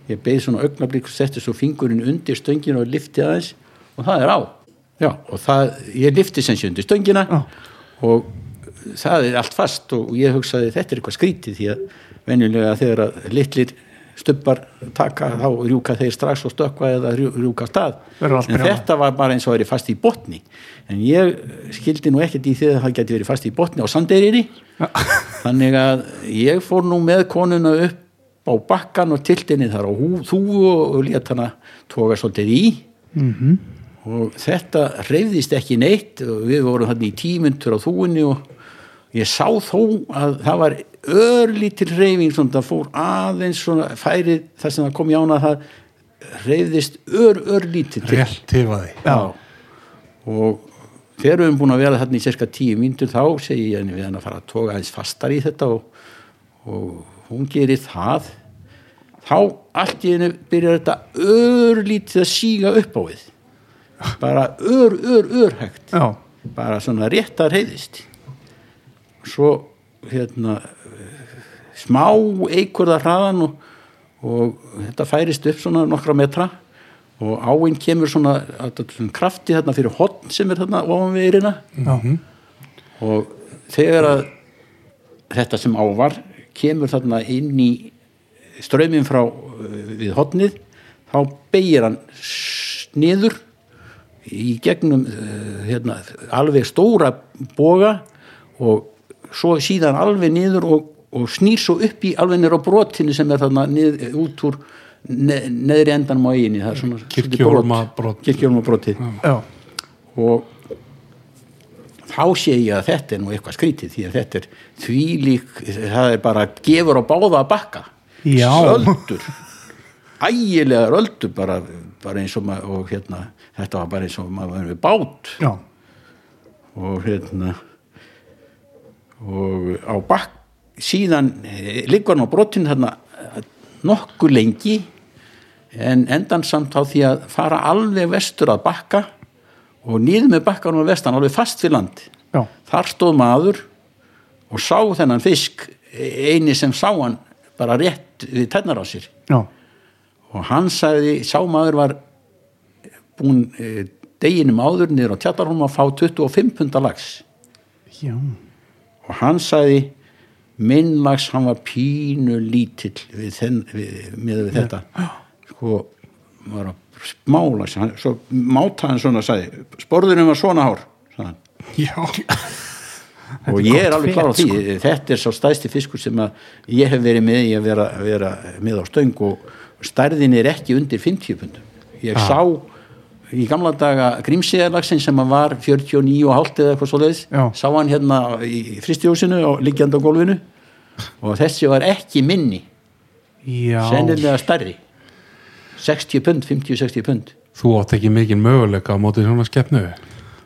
S5: ég beði svona augnablík og setti svo fingurinn undir stöngina og lifti aðeins og það er á já, og það, ég lifti sem sé undir stöngina
S1: Já.
S5: og það er allt fast og ég hugsaði þetta er eitthvað skrítið því að venjulega þegar að litlir stubbar taka þá rjúka þeir strax og stökkva eða rjú- rjúka af stað
S1: Verður allt
S5: en
S1: brjálað.
S5: þetta var bara eins og að verið fast í botni en ég skildi nú ekkert í því að það geti verið fast í botni á sandeiriri þannig að ég fór nú með konuna upp á bakkan og tiltinni þar á hú- þúfu og lét hana toga svolítið í -hmm. og þetta reyðist ekki neitt og við vorum þarna í tímundur á þúinni og ég sá þó að það var örlítil reyfing svona það fór aðeins svona færið þar sem það kom í ána það reyðist ör, örlítil til
S4: rétt tifaði
S5: Já. Og þegar við erum búin að vera þarna í cirka tíu mínútur þá segi ég henni við hann að fara að toga aðeins fastar í þetta og, og hún gerir það. Þá allt í henni byrjar þetta örlítið að síga upp á við. Bara ör, ör, örhægt.
S1: já,
S5: Bara svona rétt að reyðist. Svo hérna smá eikurða hraðan og, og þetta færist upp svona nokkra metra og áinn kemur svona, þetta er svona krafti þarna fyrir hotn sem er þarna ofan við erina og þegar að þetta sem ávar kemur þarna inn í strömmin frá eh, við hotnið þá beigir hann s- niður í gegnum eh, hérna, alveg stóra boga og svo síðan alveg niður og, og snýr svo upp í alveg niður á brotinu sem er þarna nið, út úr ne, neðri endanum á eiginni það er svona svolítið brot.
S4: Kirkjuhólmabrot.
S5: Kirkjuhólmabrotið
S1: já,
S5: og þá sé ég að þetta er nú eitthvað skrítið því að þetta er þvílík það er bara gefur á báða að bakka
S1: Já.
S5: söldur ægilegar öldur bara, bara eins og maður og hérna, þetta var bara eins og maður var við bát
S1: já,
S5: og hérna og á bakk síðan eh, liggur hann á brotinu þarna eh, nokkuð lengi en endan samt á því að fara alveg vestur að bakka og niður með bakkanum að vestan alveg fast við land
S1: já,
S5: þar stóð maður og sá þennan fisk eh, eini sem sá hann bara rétt við tennar á sér
S1: já,
S5: og hann sagði, sá maður var búin eh, deginum áður niður á tjallarhólm að fá 25 punda lags
S1: já,
S5: og hann sagði minn lags hann var pínu lítill við, þenn, við, með við þetta sko var að smála hann, svo máta hann svona sagði sporðunum var svona hár sagði hann. og ég er alveg klar á því
S1: sko.
S5: þetta er sá stæsti fiskur sem að ég hef verið með í að vera, vera með á stöng og stærðin er ekki undir 50 pundum ég sá í gamla daga grímsiðarlagsin sem að var 49 og hálft eða eitthvað svo leiðis
S1: Já.
S5: sá hann hérna í fristjósinu og liggjandi á gólfinu og þessi var ekki minni
S1: já,
S5: sennilega stærri 60 pund, 50-60 pund
S4: Þú átt ekki mikinn möguleika á móti svona skeppnu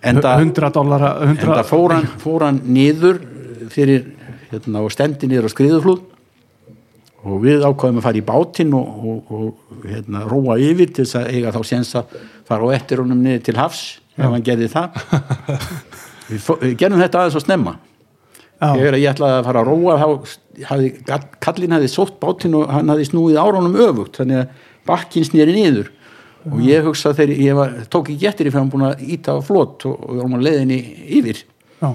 S5: en það
S1: 100 dollara, 100
S5: enda fór hann, fór hann niður eh, fyrir hérna, og stendi niður á skriðuflúð og við ákvaðum að fara í bátinn og, og, og hérna, róa yfir til þess að eiga þá séns að fara á eftir honum niður til hafs ef hann gerði það við, fó, við gerum þetta aðeins og snemma
S1: Já.
S5: þegar ég ætlaði að fara að róa þá hafði, gall- kallinn hafði sótt bátinn og hann hafði snúið árónum öfugt þannig að bakkinn snýri niður og ég hugsa þegar ég var, tók ekki eftir í fyrir hann búin að íta á flott og, og við varum að leiðinni yfir
S1: já,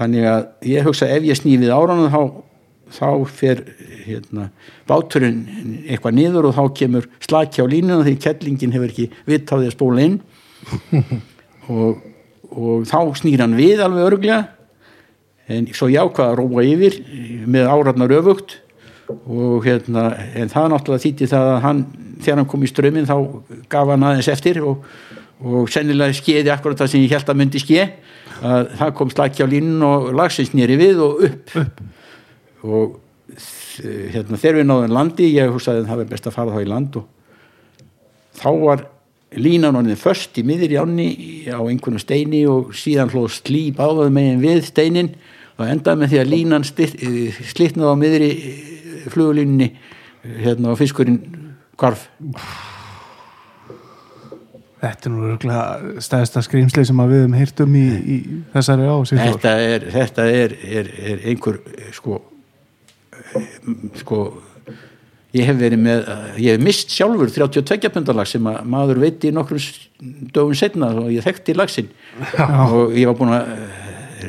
S5: þannig að ég hugsa ef ég sný við áránu þá, þá fer hérna, báturinn eitthvað niður og þá kemur slaki á línuna því kettlingin hefur ekki vitt á því að spóla inn og, og þá snýr hann við alveg örglega en svo ég ákvað að róa yfir með áratnar öfugt og hérna en það náttúrulega þýtti það að hann þegar hann kom í ströminn þá gaf hann aðeins eftir og, og sennilega skeiði akkurat það sem ég held að myndi ske að það kom slakki á línun og lagsins nýri við og upp, upp. og þ- hérna, þegar við náðum landi ég hugsaði að það var best að fara þá í land og þá var línan orðin först í miður í ánni á einhvern steini og síðan hlóð slí báðað megin við steinin og endaði með því að línan styr- eh, slitnaði á miður í flugulínunni hérna og fiskurinn hvarf
S1: Þetta er nú röglega stæðsta skrýmsli sem að við höfum heyrt um í, í þessari á Sigþór.
S5: þetta er, þetta er, er, er einhver eh, sko eh, sko ég hef verið með, eh, ég hef mist sjálfur 32 pundalag sem að maður veit í nokkrum s- dögum setna og ég þekkti lagsin og ég var búin að eh,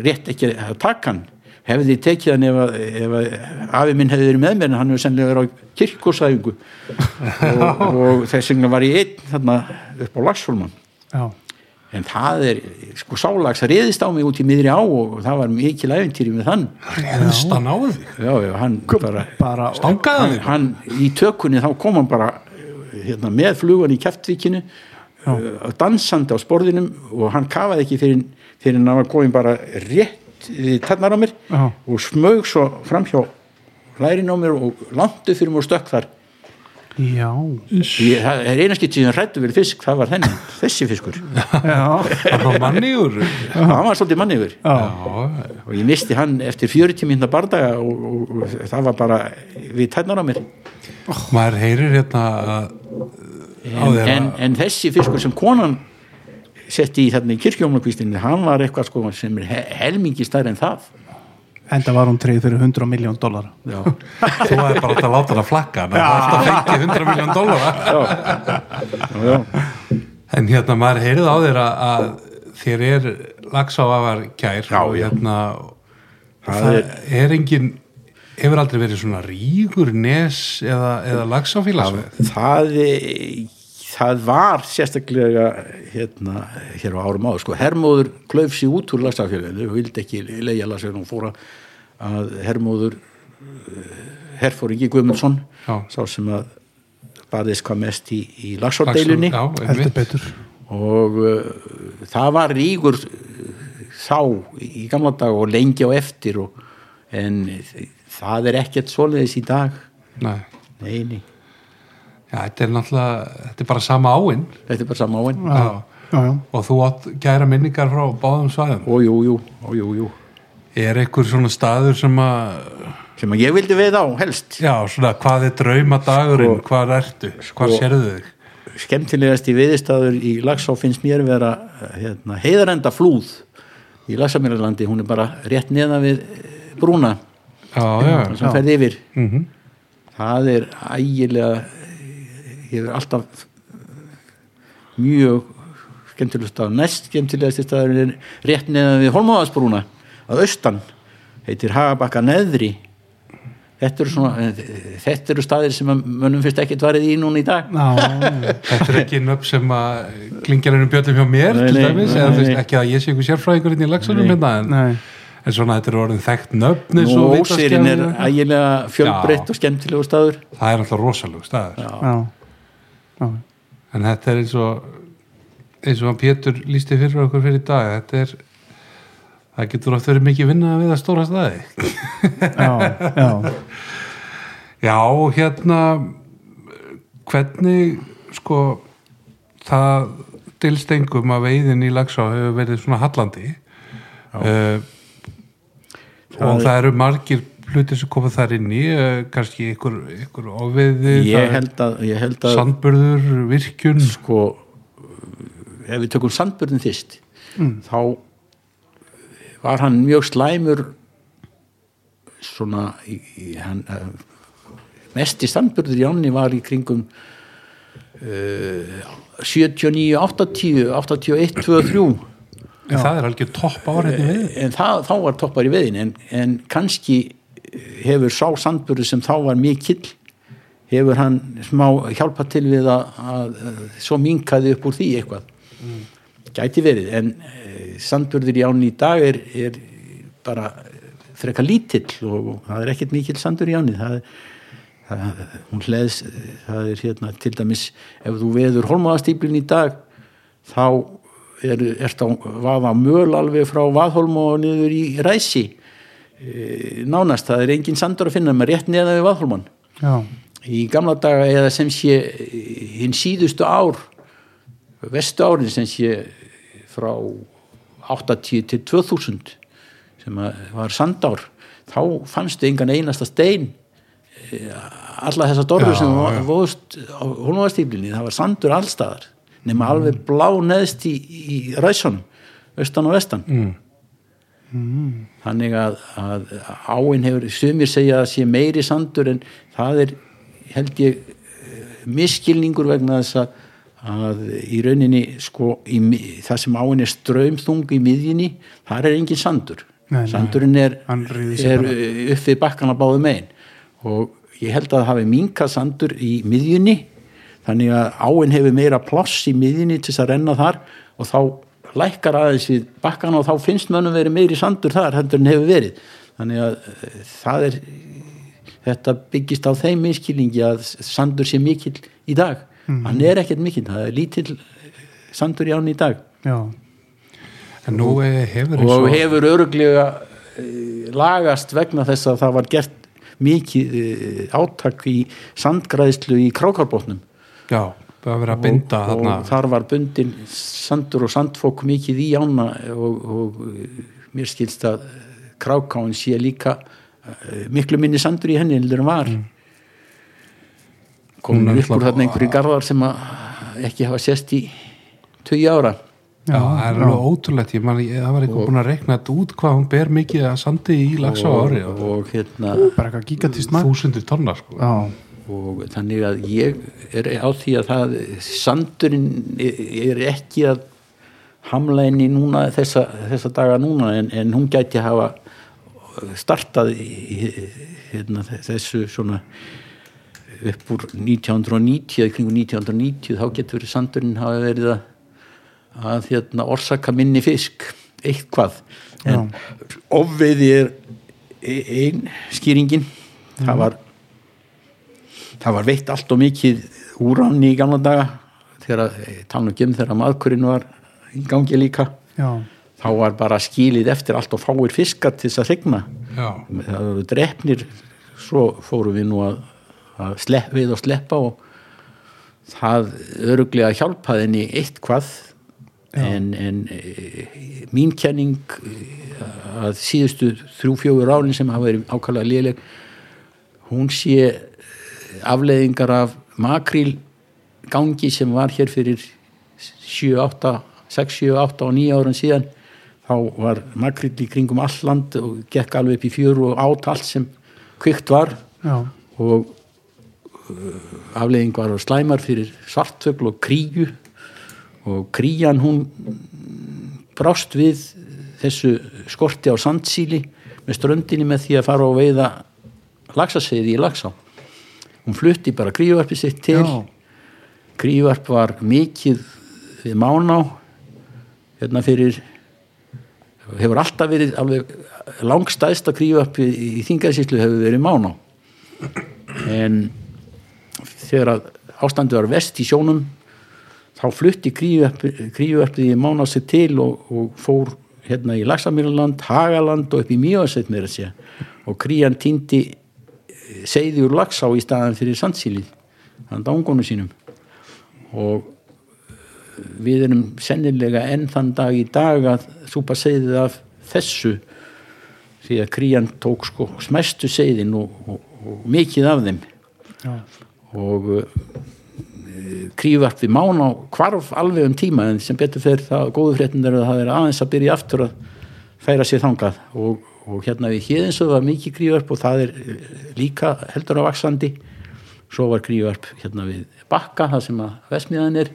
S5: rétt ekki að taka hann hefði ég tekið hann ef að, ef að afi minn hefði verið með mér en hann hefur sennilega verið á kirkursæfingu og, og þess vegna var ég einn þarna upp á lagsfólman
S1: Já,
S5: en það er, sko sálags reyðist á mig út í miðri á og það var mikil æfintýri með þann
S2: Réðst hann á því?
S5: já, já, hann bara,
S1: bara,
S2: Stangaði hann
S5: hann,
S2: þig?
S5: hann í tökunni þá kom hann bara hérna, með flugan í kjaftvíkinu uh, dansandi á sporðinum og hann kafaði ekki fyrir, fyrir hann var komin bara rétt í tennar á mér
S1: Já.
S5: og smög svo framhjá lærin á mér og landu fyrir mér og stökk þar
S1: já,
S5: ég, það er einaskitt sem hrættu vel fisk, það var þennan, þessi fiskur
S1: já,
S2: Það var manni úr
S5: hann var svolítið manni yfir
S1: já,
S5: og ég misti hann eftir 40 minna bardaga og, og, og það var bara við tætnar á mér
S2: Maður heyrir hérna að á
S5: en,
S2: þér
S5: en,
S2: að-
S5: en þessi fiskur sem konan setti í þarna í kirkjómlakvistinni hann var eitthvað sko sem er he- helmingi stærri en það
S1: enda var hún treyð fyrir 100 miljón dólar.
S5: já,
S2: þú hefði bara átt að láta hann að flakka hann það alltaf fengið 100 miljón dólar
S5: já, já,
S2: En hérna, maður heyrið á þér að, að þér er lagsáafar kær já, og hérna það,
S5: Það
S2: er, engin hefur aldrei verið svona ríkur nes eða, eða lagsáfélagsveð
S5: það eh, það var sérstaklega hérna, hér á árum áður sko, hermóður klauf sér út úr lagstafélaginu og vildi ekki leiða lagstafélaginu og fóra að hermóður herfóringi Guðmundsson
S2: Já.
S5: sá sem að barðist hvað mest í, í lagsordeilunni
S2: Já,
S1: Heldur
S2: einmitt.
S1: betur.
S5: og uh, það var ríkur þá í gamla dag og lengi á eftir og, en það er ekkert svoleiðis í dag
S2: Nei.
S5: nei, nei,
S2: Já, þetta er náttúrulega, þetta er bara sama áinn
S5: þetta er bara sama áin
S1: Já, já.
S2: og þú átt gæra minningar frá báðum svæðum
S5: og jú, jú, og jú, jú
S2: er einhver svona staður sem að
S5: sem að ég vildi veið á helst
S2: já, svona, hvað er draumadagurinn
S5: Sko-
S2: hvað ertu, hvað
S5: sko-
S2: sérðu þig
S5: skemmtilegasti viðistaður í Lagsá finnst mér vera hérna, heiðarenda flúð í Lagsamjörnlandi, hún er bara rétt neðan við eh, brúna
S2: já, já, Mhm.
S5: sem ferði yfir það er ægilega ég er alltaf mjög skemmtilegst staður, næst skemmtilegast staður er rétt neðan við Holmáðasbrúna að austan, heitir Hagabakka neðri þetta eru svona þetta eru staðir sem að mönnum fyrst ekkert varðið í núna í dag
S1: Já,
S2: Þetta er ekki nöfn sem að klingjar einum bjöllum hjá mér
S5: Nei,
S2: til
S5: nei,
S2: dæmis,
S5: nei,
S2: eða þú
S5: nei.
S2: veist ekki að ég sé einhver sérfræðingur inn í lagsunum hérna en,
S1: nei,
S2: en svona þetta er orðin þekkt nöfn eins
S5: nú
S2: og
S5: ósýrin er
S2: vitaskjáður.
S5: ægilega fjölbreytt
S2: Já.
S5: og skemmtilegur staður
S2: það er alltaf rosalug staður
S1: já, já,
S2: en þetta er eins og eins og hann Pétur lísti fyrir okkur fyrir í dag þetta er það getur oft verið mikið vinna við að stóra staði
S1: já, já.
S2: Já, hérna hvernig sko það dylst engum að veiðin í Laxá hefur verið svona hallandi uh, og það eru margir hlutir sem koma þar inn í uh, kannski ykkur, ykkur ofveiði það
S5: ég
S2: er
S5: held að, ég held að
S2: sandburður, virkjun
S5: sko ef við tökum sandbörnin fyrst þá var hann mjög slæmur svona í, í, hann, eh, mesti sandbörður í ánni var í kringum uh, 79, 80 81, 23
S2: en það er algjör topp hérna áriðni við
S5: en það, þá var toppar í veðin en, en kannski eh, hefur sá sandbörður sem þá var mikill hefur hann smá hjálpa til við að, að eh, svo minkaði upp úr því eitthvað gæti verið en eh, sandbörður í ánni í dag er, er eh, bara frekar lítill og, og það er ekkert mikill sandur í ánni það er það, hún hleðs það er hérna til dæmis ef þú veður holmaðastýplin í dag þá er, ert á vaða möl alveg frá vaðholm og niður í ræsi Eh, nánast, það er engin sandur að finna með rétt neða við vaðholman
S1: já,
S5: í gamla daga eða sem sé hinn síðustu ár vestu árin sem sé frá 80 til 2000 sem að var sandár þá fannstu engan einasta stein eh, alla þessar dorfur
S2: Já,
S5: sem
S2: já.
S5: vóðust á hólmaðastýflinni það var sandur allstaðar nema alveg blá neðst í, í ræsunum austan og vestan mm. þannig að, að áin hefur sumir segja að sé meiri sandur en það er held ég miskilningur vegna þess að, að í rauninni sko, í, mi- það sem áin er ströymþung í miðjunni, þar er engin sandur
S1: Nei, nei.
S5: sandurinn er,
S1: Hann ríður sig
S5: er eh,
S1: bara.
S5: upp við bakkana báðu megin og ég held að það hafi minka sandur í miðjunni þannig að áin hefur meira pláss í miðjunni til þess að renna þar og þá lækkar aðeins við bakkana og þá finnst mönnum verið meiri sandur þar heldur en hefur verið þannig að eh, það er þetta byggist á þeim miskilningi að sandur sé mikill í dag hann er ekkert mikill, það er lítill eh, sandur í án í dag
S1: já,
S2: En nú eh, hefur
S5: og hefur öruglega eh, lagast vegna þess að það var gert mikið eh, átak í sandgræðslu í krákarbótnum
S2: Já, það verið að binda
S5: og,
S2: þarna
S5: og þar var bundin sandur og sandfók mikið í ána og, og eh, mér skilst að eh, krákáin sé líka eh, miklu minni sandur í henni heldur en var
S2: Mm.
S5: komin upp úr þarna einhverju garðar sem að ekki hafa sést í 20 ára
S2: Já, það er alveg ótrúlegt, ég man, ég, það var eitthvað búin að rekna þetta út hvað hún ber mikið að sandi í lags á ári
S5: og,
S2: og
S5: og hérna
S1: bara eitthvað gigantist mann
S2: þúsundir tonna sko.
S1: já,
S5: og þannig að ég er á því að það sandurinn er ekki að hamla henni núna þessa, þessa daga núna en, en hún gæti hafa startað í- í- hérna, þessu svona upp úr 1990 eða í kringum 1990 þá getur verið sandurinn hafa verið að, að hérna, orsaka minni fisk eitthvað en ofveiði er e- ein skýringin það var það var veitt allt og mikið úrann í gamla daga þegar talnum gem þegar maðkurinn var í gangi líka
S1: já,
S5: þá var bara skilið eftir allt og fáir fiskar til þess að hrygna
S2: Já,
S5: það voru drefnir svo fórum við nú að, að slepp, við og sleppa og það öruglega hjálpaði henni eitt hvað en, en e, mín kenning eh, að síðustu þrjú-fjögur álinn sem hafa verið ákvæmlega léleg hún sé afleiðingar af makríl gangi sem var hér fyrir 7, 8, 6, 7, 8 og 9 árum síðan þá var makríl í kringum all land og gekk alveg upp í fjöru og át allt sem kvikt var
S1: já
S5: og uh, afleiðing var slæmar fyrir svartfögl og kríu og krían hún mm, brást við þessu skorti á sandsíli með ströndinni með því að fara og veiða laxaseiði í laxá hún flutti bara kríuvarpi sitt til
S1: Já.
S5: kríuvarp var mikið við máná hérna fyrir hefur alltaf verið alveg langstæðsta kríuvarpi í þingarsýslu hefur verið máná en þegar að ástandi var vest í sjónum þá flutti kríuöppið í mána sig til og, og fór hérna í Laxamýrland, Hagaland og upp í Mjóasveit meira sé og krían týndi eh, seiði úr Laxá í staðan fyrir sandsýlið hann dángónu sínum og eh, við erum sennilega enn þann dag í dag að súpa seiðið af þessu því að krían tók sko smestu seiðin og, og, og mikið af þeim og eh, krífart við mána hvarf alveg um tíma en sem betur fyrir það góðu fréttin er að það er aðeins að byrja aftur að færa sér þangað og, og hérna við hérðinsöð var mikið krífarp og það er eh, líka heldur að vaksandi svo var krífarp hérna við bakka það sem að vesmiðan er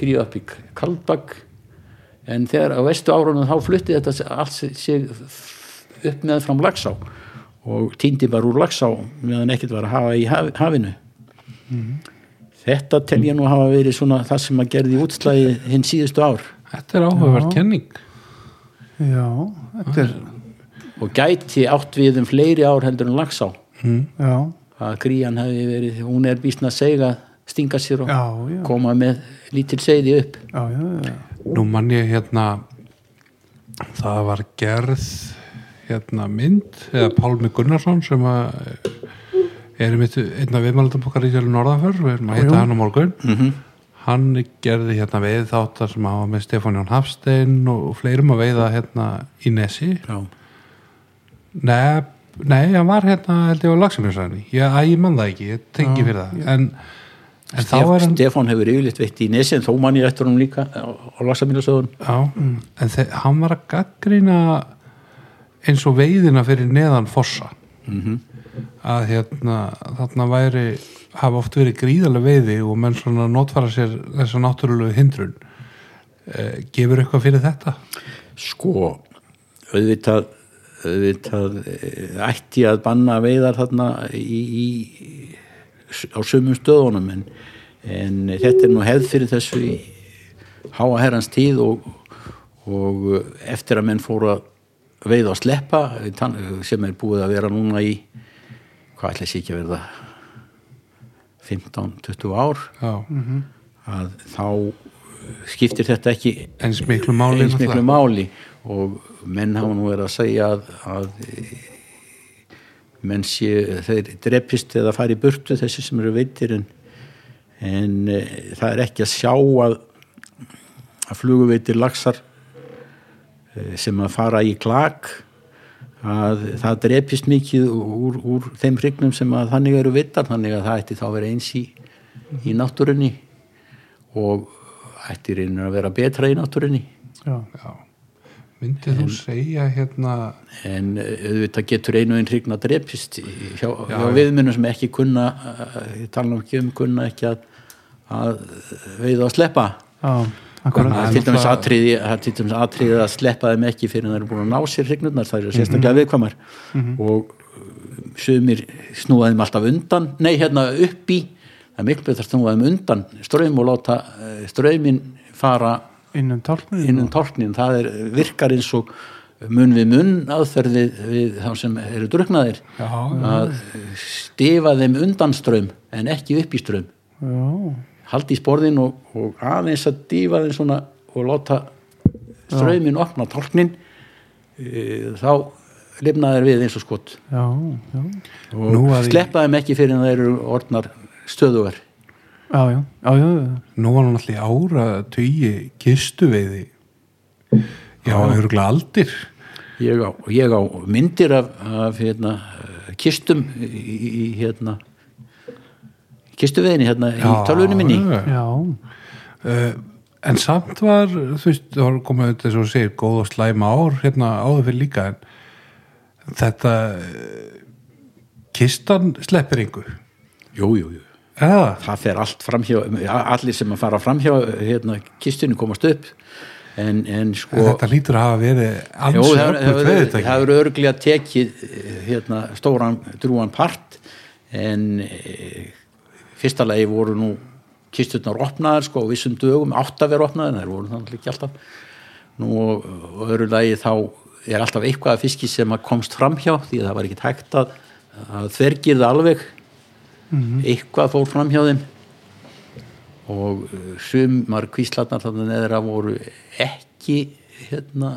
S5: krífarp í Kaldbakk en þegar á vestu árunum þá flutti þetta allt sig upp meðan fram Laxá og týndi bara úr Laxá meðan ekkert var að hafa í haf, hafinu þetta tel ég nú hafa verið svona það sem að gerði útslæði hinn síðustu ár
S2: þetta er áhugavert kenning
S1: já, þetta er
S5: og gæti átt við um fleiri ár heldur en Laxá
S1: já,
S5: að gríjan hefði verið, hún er býsna að segja stinga sér og
S1: Já, já.
S5: koma með lítil seiði upp
S1: já, já, já.
S2: Nú mann ég hérna það var gerð hérna mynd eða Pálmi Gunnarsson sem að er mitt einn af viðmælandum okkar í Hjörlu Norðanför við erum að hitta hann á morgun -hmm. hann gerði hérna veið þáttar sem hafa með Stefán Jón Hafstein og fleirum að veiða hérna í Nesi
S5: já,
S2: Nei, nei, hann var hérna held ég á Laxamjörsæðinni, ég, æ, ég man það ekki ég tengi fyrir það, en, en þá
S5: Stef,
S2: er hann
S5: Stefán hefur yfirleitt veitt í nesin þó mann ég eftir hún líka á, á lasamílasöðun
S2: Já,
S5: Mm.
S2: en þe- hann var að gaggrina eins og veiðina fyrir neðan fossa
S5: Mhm.
S2: að hérna þarna væri, hafa oft verið gríðarlega veiði og menn svona notfara sér þessa náttúrulegu hindrun eh, gefur eitthvað fyrir þetta
S5: sko auðvitað, auðvitað eh, ætti að banna veiðar þarna í, í, á sumum stöðunum en, en þetta er nú hefð fyrir þessu í háa herrans tíð og, og eftir að menn fóru að veiða og sleppa tann- sem er búið að vera núna í hvað ætla sé ekki að verða 15-20 ár
S2: Já,
S5: Mhm. að þá skiptir þetta ekki
S2: eins miklu máli
S5: eins miklu
S2: náttúrulega.
S5: máli og menn hafa nú verið að segja að, að e, menn sé þeir drepist eða fari í burtu þessi sem eru veitir en, en e, það er ekki að sjá að, að fluguveitir laxar e, sem að fara í klak að það drepist mikið úr, úr þeim hrygnum sem að þannig eru vittar þannig að það ætti þá að vera eins í, í náttúrunni og ætti reynir að vera betra í náttúrunni
S1: já.
S2: Já, myndið þú segja hérna
S5: en eh, auðvitað getur einu einn hrigna drepist í- hjá, hjá
S2: já.
S5: viðmennum sem ekki kunna eh, ég tala nú ekki um kunna ekki að, að veiða að sleppa
S1: já.
S5: það
S1: akkurat
S5: er til dæmis atriði, það er til dæmis atriði að sleppa þeim ekki fyrir en það eru búin að ná sér hrignurnar það eru
S2: Mhm.
S5: sérstaklega viðkvæmar og eh, sumir snúa þeim alltaf undan nei hérna upp í það er miklu betur að snúa þeim undan ströym og láta eh, ströymin fara
S1: innan tálknum
S5: innan tálknin, það er, virkar eins og munn við munn aðferð við, við þá sem eru druknaðir
S2: Já,
S5: að stifa þeim undan ströym en ekki upp í ströym
S1: já,
S5: haldi í sporðin og, og aðeins að dífa þeim svona og láta ströymin opna tálknin e, þá lifnaðir við eins og skot
S1: já, já
S2: Nú
S5: og
S2: að ég-
S5: sleppa þeim ekki fyrir en þeir eru orðnar stöðuver
S1: já, já, já, já, já.
S2: Nú var hann allir ára tugi kistuveiði Já, örgulega aldir
S5: Ég á, ég á myndir af, af hérna, kistum í, í- í hérna kistuveginni hérna í tölvunni minni
S2: já.
S1: já.
S2: Uh, en samt var, þú veist, það var komið auðvitað svo að segja, góð og slæma ár hérna áður fyrir líka en þetta eh, kistan sleppir yngu
S5: Jú, jú, jú
S2: eða,
S5: Það fer allt framhjá, allir sem að fara framhjá hérna, kistunni komast upp en, en sko
S2: þetta hlýtur að hafa verið
S5: Jú,
S2: ansið
S5: það-
S2: öflugt
S5: það-
S2: veðurtæki
S5: Það eru örglega tekið eh, hérna, stóran, drúan part en e, fyrsta lagi voru nú kisturnar opnaðar sko á vissum dögum átt að vera opnaðar, en þær voru þannig ekki alltaf nú og, og öðru lagi þá er alltaf eitthvað að fiski sem að komst framhjá því að það var ekki hægt að, að þvergirða alveg eitthvað fór framhjá þeim og eh, sumar kvíslarnar þarna neðra voru ekki hérna,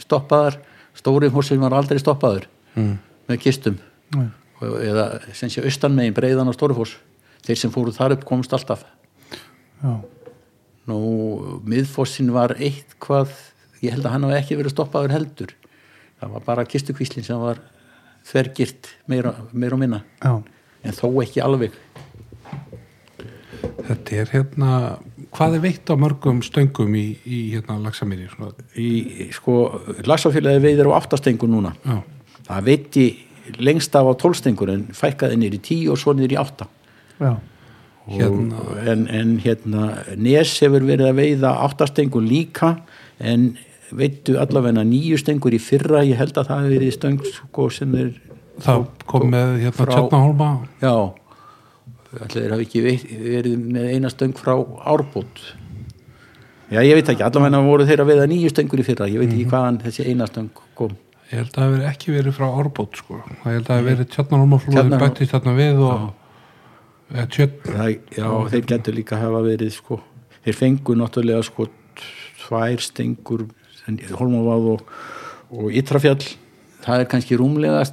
S5: stoppaðar stóri húsin var aldrei stoppaður mm. með kistum mm. eða sem sé austan megin breiðan á stóri hús þeir sem fóru þar upp komst alltaf
S1: Já.
S5: nú miðfossin var eitthvað ég held að hann hafi ekki verið stoppaður heldur það var bara kistukvíslin sem var þvergirt meira, meira og minna
S1: já.
S5: en þó ekki alveg
S2: þetta er hérna hvað er veitt á mörgum stöngum í, í hérna lagsamýri svona,
S5: í sko, lagsafélagi veiðir á áttastengur núna
S2: Já.
S5: það veiti lengst af á tólstengur en fækkaði niður í tíu og svo niður í átta
S1: já.
S5: Og-
S2: Hérna.
S5: en, en hérna Nes hefur verið að veiða áttastengur líka en veittu allavegna nýju stengur í fyrra ég held að það hefur verið stöng sko, sem þeir
S2: það kom með hérna
S5: frá-
S2: Tjarnahólma
S5: já allir þeir hafi ekki veit, verið með eina stöng frá árbútt
S2: Mhm.
S5: já ég veit ekki allavegna voru þeir að veiða nýju stengur í fyrra ég veit ekki hvaðan þessi eina stöng kom
S4: ég held að það hafi ekki verið frá árbót sko. það ég held að það hafi verið tjarnarhólmaflóði
S5: Tjarnarhólm-
S4: bættist þarna við og eða tjörn
S5: það, já, þeir getur líka hafa verið sko, þeir fengu náttúrulega sko tvær stengur Holmaváð og, og Ytrafjall það er kannski rúmlega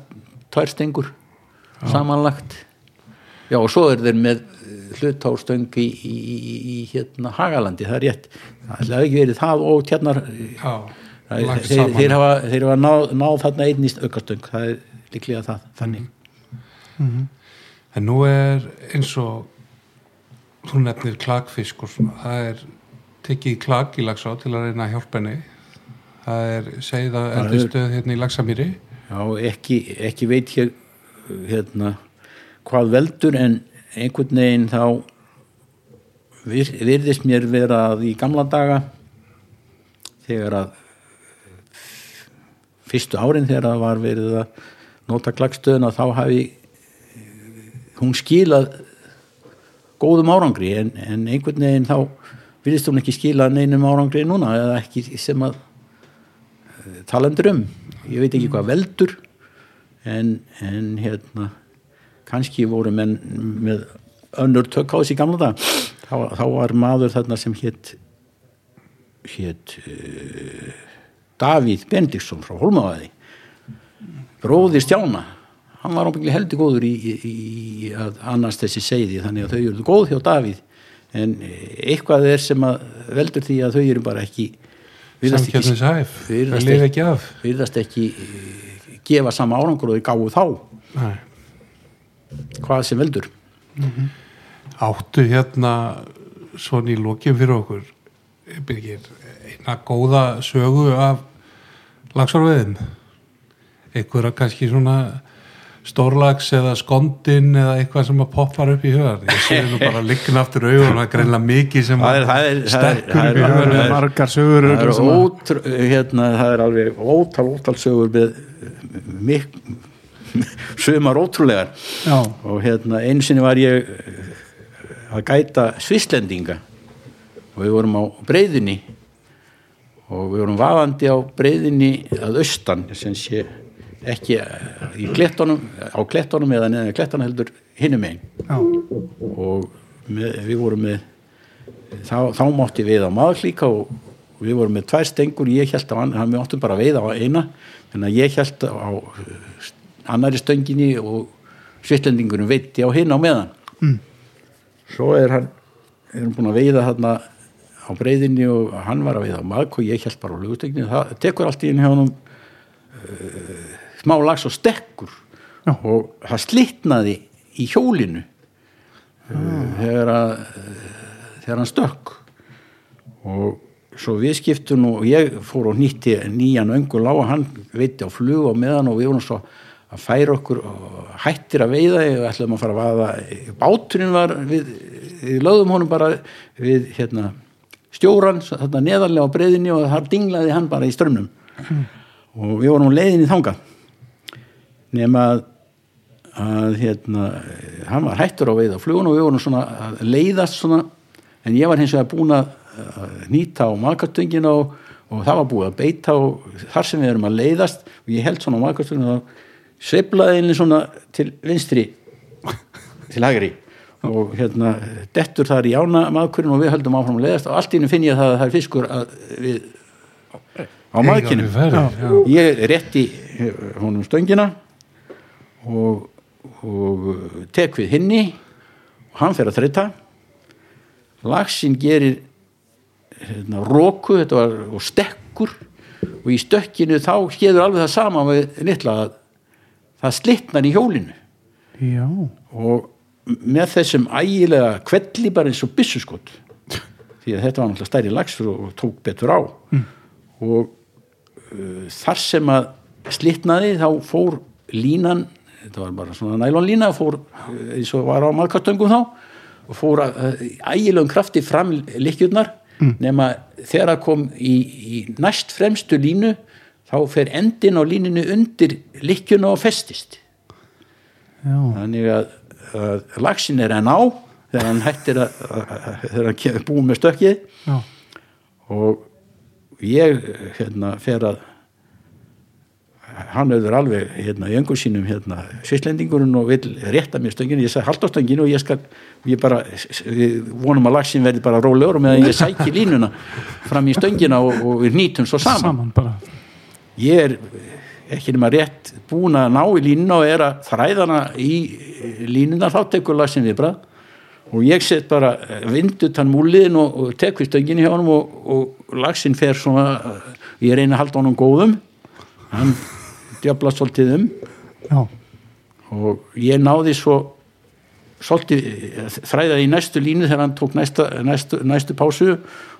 S5: tvær stengur samanlagt já og svo er þeir með hlutárstöng í, í, í, í hérna Hagalandi, það er rétt það ætlaði ekki verið það og tjarnar
S4: já,
S5: það,
S4: lagt
S5: þeir,
S4: saman.
S5: þeir hafa, þeir hafa náð, náð þarna einnist aukastöng, það er líklega það þannig
S4: en nú er eins og þú nefnir klagfisk og svona, það er tekið klag í lagsá til að reyna að hjálpa henni það er segið að
S5: Það er-
S4: eldistöð hérna í lagsamýri
S5: Já, ekki, ekki veit hér hérna, hvað veldur en einhvern veginn þá vir, virðist mér vera að í gamla daga þegar að fyrstu árin þegar að var verið að nota klagstöðuna þá hafi hún skilað góðum árangri en, en einhvern veginn þá virðist hún ekki skila neinum árangri núna eða ekki sem að talendur um ég veit ekki hvað veldur en, en hérna kannski voru menn með önnur tök á þessi gamla dag þá, þá var maður þarna sem hétt hétt uh, Davíð Bendiksson frá Holmavæði bróðir Stjána hann var ábyggli heldur góður í, í, í að annars þessi seiði þannig að þau eru góð hjá Davíð en eh, eitthvað er sem að veldur því að þau eru bara ekki virðast ekki-
S4: samkjörnins hæf, það
S5: virðast
S4: lifi ekki af
S5: virðast ekki eh, gefa sama árangur og þau gáu þá
S4: Nei.
S5: hvað sem veldur
S4: áttu hérna svona í lokin fyrir okkur Birgir, eina góða sögu af lagsvarveðin einhverja kannski svona stórlags eða skondin eða eitthvað sem að poppar upp í hugan ég sé nú bara liggin aftur augun það er greinlega mikið sem
S5: Það
S4: að
S5: er- það er- það er-
S4: stekkur
S5: það
S4: upp í
S5: er-
S1: Það
S4: hugan
S1: eru margar sögur
S5: það er,
S1: sem að-
S5: ótr, hérna, það er alveg ótal ótal sögur með mik, sumar ótrúlegar
S1: Já,
S5: og hérna einu sinni var ég eh, að gæta svislendinga og við vorum á breyðinni og við vorum vaðandi á breyðinni að austan sem sé ekki eh, í klettunum, á klettunum eða neðan klettana heldur hinum einn
S1: já,
S5: og með, við vorum með þá, þá mátti við á maður líka og við vorum með tvær stengur ég held á hann, hann við áttum bara að veiða á eina þannig að ég held á eh, annari stönginni og svitlendingurum veitti á hinn á meðan svo er hann við erum búin að veiða þarna á breyðinni og hann var að veiða á maður og ég held bara á lögustegninu, það tekur allt í henni hjá honum uh, smá lags og stekkur
S1: Já.
S5: og það slitnaði í hjólinu eh, þegar, að, þegar hann stökk og svo við skiptum og ég fór og nýtti nýjan öngul á og hann veitti á flug og meðan og við vorum svo að færa okkur og hættir að veiða og ætlaðum að fara að vaða eh, báturinn var við, við lögðum honum bara við hérna stjóran svo þarna neðarlega á breyðinni og þar dinglaði hann bara í strömmnum og við vorum á leiðinni þangað nema að, að hérna, hann var hættur á veiða flugun og við vorum svona að leiðast svona, en ég var hins vegar búin að að nýta á makartöngina og, og það var búið að beita og þar sem við erum að leiðast og ég held svona á makartöngina og sveiflaði einnig svona til vinstri til hægri og hérna dettur þar í ána makurinn og við höldum áfram að leiðast og allt í einu finn ég það að það er fiskur að, við, á makinu
S4: við ferðum, já.
S5: ég rétti eh, honum stöngina og, og eh, tek við hinni og hann fer að þreita laxinn gerir hérna, roku þetta var, og stekkur og í stökkinu þá skeður alveg það sama við litla að það slitnar í hjólinu
S1: já
S5: og með þessum ægilega kvelli bara eins og byssuskot því að þetta var náttúrulega stærri lagsfur og tók betur á og uh, þar sem að slitnaði þá fór línan þetta var bara svona nælonlína fór uh, eins og var á markartöngum þá og fór að uh, ægilegum krafti fram likjurnar nema þegar að kom í, í næst fremstu línu þá fer endin á líninu undir likjuna og festist
S1: Já,
S5: þannig að, að lagsin er enn á þegar hann hættir að, að, að þegar hann kemur búið með stökkið
S1: já,
S5: og ég hérna fer að hann auður alveg hérna í öngu sínum hérna svislendingurinn og vil rétta mér stönginu, ég sagði halda á stönginu og ég skal, ég bara við vonum að lagsin verði bara rólegur og meðan ég sæki línuna fram í stöngina og, og við nýtum svo saman
S1: saman bara
S5: ég er ekki nema rétt búin að ná í línuna og er að þræðana í línuna þá tekur lasin viðbrað og ég set bara eh, vindutan múliðin og, og tekur stöngin hjá honum og, og lasin fer svona eh, ég reyna að halda honum góðum hann djöflast svolítið um
S1: já,
S5: og ég náði svo svolítið eh, þræðaði í næstu línu þegar hann tók næsta, næstu, næstu pásu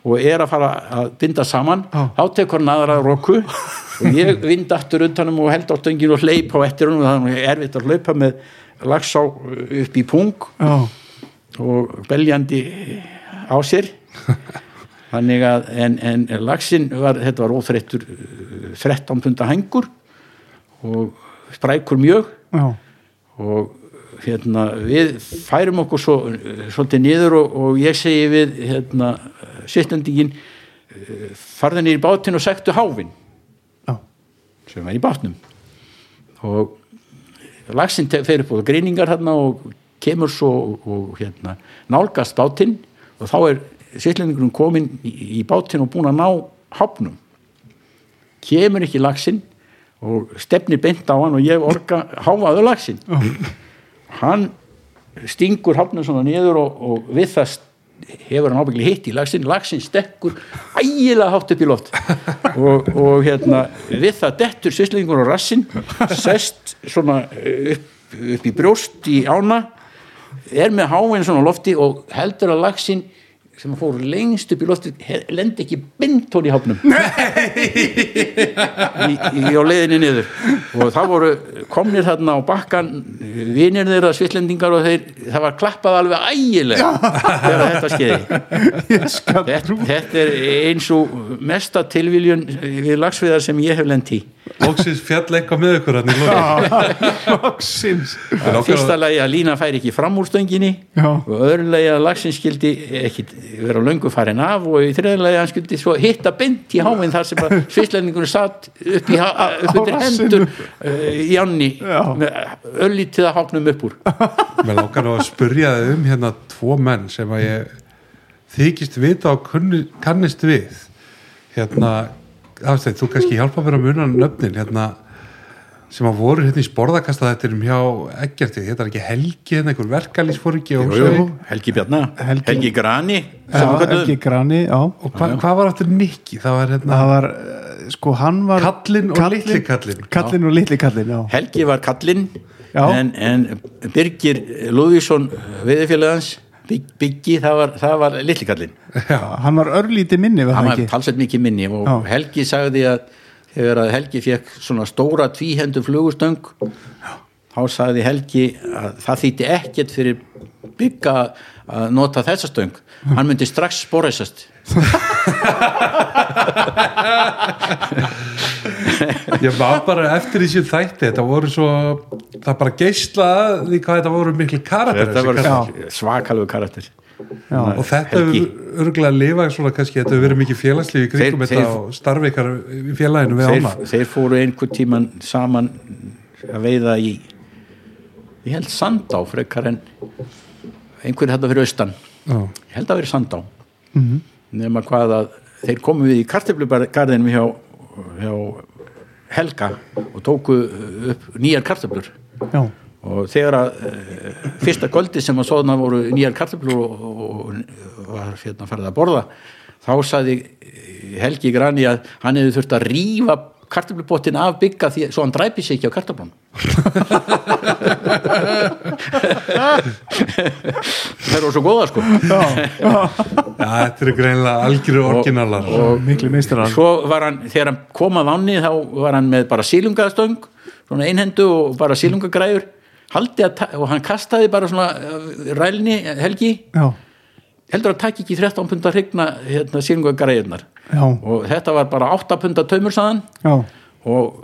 S5: og er að fara að binda saman
S1: Já.
S5: þá tekur hann aðra roku og ég vind aftur undanum og held á stöngin og hleyp á eftir hann og það er erfitt að hlaupa með lagsá upp í pung
S1: já,
S5: og beljandi á sér þannig að en, en laxinn var, þetta var óþreyttur 13 punda hengur og sprækur mjög
S1: já,
S5: og hérna við færum okkur svo eh, svolítið niður og, og ég segi við hérna sittlendingin farðin í bátinn og sektu háfin
S1: já,
S5: sem var í bátnum og laxinn te- fer upp á greiningar hérna og kemur svo og, og hérna nálgast bátinn og þá er sittlendingurinn komin í, í bátinn og búin að ná hafnum kemur ekki laxinn og stefni beint á hann og ég orga háfaðu laxinn hann stingur hafnum svona niður og, og við það st- hefur hann ábyggli hitt í laxinn laxinn stekkur ægilega hátt upp í loft og, og hérna við það dettur svislingur á rassinn sest svona eh, upp, upp í brjóst í ána er með háinn svona á lofti og heldur að laxinn sem fór lengst upp í lofti he- lendi ekki bindtón í hafnum í, í, á leiðinni niður og það voru komnir þarna á bakkan vinir þeirra svillendingar og þeir, það var klappað alveg ægilega þegar þetta skeiði
S1: ég skal
S5: þetta, þetta er eins og mesta tilviljun við lagsviðar sem ég hef lent í
S4: Lóksins fjall eitthvað með ykkur hann í lókin.
S1: loksins
S5: fyrsta lagi að lína færi ekki fram úr stönginni
S1: Já.
S5: og öðru lagi að lagsin skildi ekki vera löngu farin af og í þriðan lagi að hann skildi svo hitta bind í háminn þar sem að svislendingunum satt upp, í, ha- upp
S1: Á
S5: undir hendur
S1: rassinum.
S5: uh, í ánni
S1: Já.
S5: með öllítið að háknum upp úr
S4: Mér lókar nú að spurja þið um hérna tvo menn sem að ég þykist vita og kunni, kannist við. Hérna, afstætt, þú kannski hjálpa mér að muna nöfnin, hérna, sem að voru hérna í sporðakasta þettinum hjá Eggerti, hérna er ekki Helgi, hérna einhver verkalýsforingi og
S5: Helgi Bjarnar, Helgi, Grani sem
S1: já,
S5: við köllum.
S1: ekki grani, já
S4: Og hva, hvað var aftur Nikki? Það var hérna,
S1: það var, eh, sko hann var
S4: Kallinn og litli kallinn.
S1: kallinn og litli kallinn, já
S5: Helgi var kallinn
S1: Já.
S5: en, en Birgir Lúðvísson viðfélagans Bygg, Byggi, það var, það var litli kallinn
S1: hann var örlítið minni var
S5: hann
S1: það
S5: var
S1: ekki
S5: talsett mikið minni og
S1: Já.
S5: Helgi sagði að þegar að Helgi fekk svona stóra tvíhendu flugustöng þá sagði Helgi að það þýtti ekkert fyrir bygga að nota þessa stöng
S1: Hm.
S5: hann myndi strax spóreisast
S4: ég var bara eftir þessi þætti, þetta voru svo, það bara geislaði því hvað þetta voru miklu karakter.
S5: þetta
S4: þessir
S5: var
S4: kallar.
S5: svakalegu karakter
S1: Já.
S4: og þetta
S5: Helgi.
S4: hefur örgulega lifað svona kannski, þetta hefur verið mikið félagslíf í kringum
S5: Þeir-
S4: þetta
S5: þeir-
S4: og starfi ykkar í félaginu við ána
S5: þeir, þeir fóru einhvern tíman saman að veiða í ég held sandá frekar en einhvern þetta fyrir austan ég held að vera sandá nema hvað að þeir komu við í kartöflugarðinum hjá, hjá Helga og tóku upp nýjar kartöflur
S1: já,
S5: og þegar að e, fyrsta goldi sem að svoðna voru nýjar kartöflur og, og, og var hérna farið að borða þá saði Helgi Grani að hann hefði þurft að rífa kartöflubottin af bygga því, svo hann dræpi sig ekki á kartöflun það eru svo góða sko
S4: Já, þetta eru greinlega algjöru orginalar
S1: miklu meistarar
S5: svo var hann, þegar hann kom að vanni þá var hann með bara sílungastöng svona einhendu og bara sílungagræður haldi að, ta- og hann kastaði bara svona eh, rælni helgi
S1: já,
S5: heldur að taki ekki 13 pund að hrygna hérna, sílungagræðunar
S1: já,
S5: og þetta var bara 8 pund að taumur saðan
S1: já
S5: og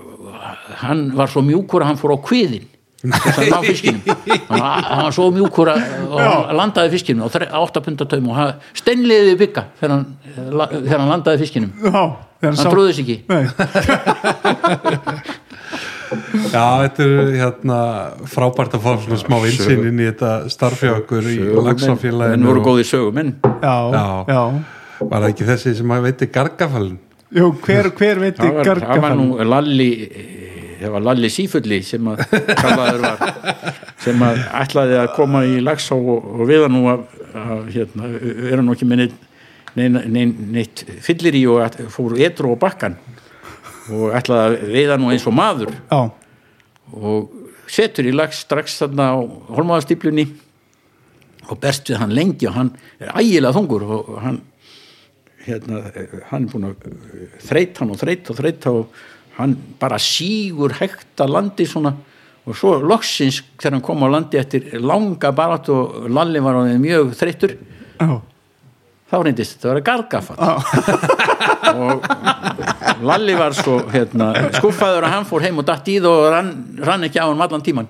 S5: hann var svo mjúkur að hann fór á kviðin hann á fiskinum hann var- hann var svo mjúkur að og hann landaði fiskinum á 8 pund að taum og hann steinliði bygga þegar hann, þegar hann landaði fiskinum
S1: já, þegar
S5: hann trúði sig ekki
S1: Nei.
S2: Já, þetta er hérna frábært að fá svona smá insýn inn í þetta starfjögur í
S5: menn
S2: lagsafélaginu
S5: voru góði sögumenn
S1: já,
S2: Já.
S1: já.
S2: var það ekki þessi sem að veiti gargafalinn
S1: Jú, hver, hver veit
S5: það
S1: í
S5: var, það var
S1: gargafann
S5: nú Lalli eh, það var Lalli Sífulli sem að kallaður var sem að ætlaði að koma í lagsá og, og viða nú að, að hérna, er hann nú ekki með neitt nein, nein, neitt fyllir í og að, fór etru á bakkan og ætlaði að veiða nú eins og maður
S1: Já,
S5: og setur í lags strax þarna á holmaðastíplunni og berst við hann lengi og hann er ægilega þungur og hann hérna, eh, hann er búin að eh, þreyta hann og þreyta og þreyta og hann bara sígur hægt að landi svona og svo loksins þegar hann kom á landi eftir langa barat og Lalli var orðinn mjög þreyttur
S1: já,
S5: þá reyndist þetta að vera gargafall og Lalli var svo hérna, skuffaður að hann fór heim og datt í það og rann, rann ekki á hann allan tíman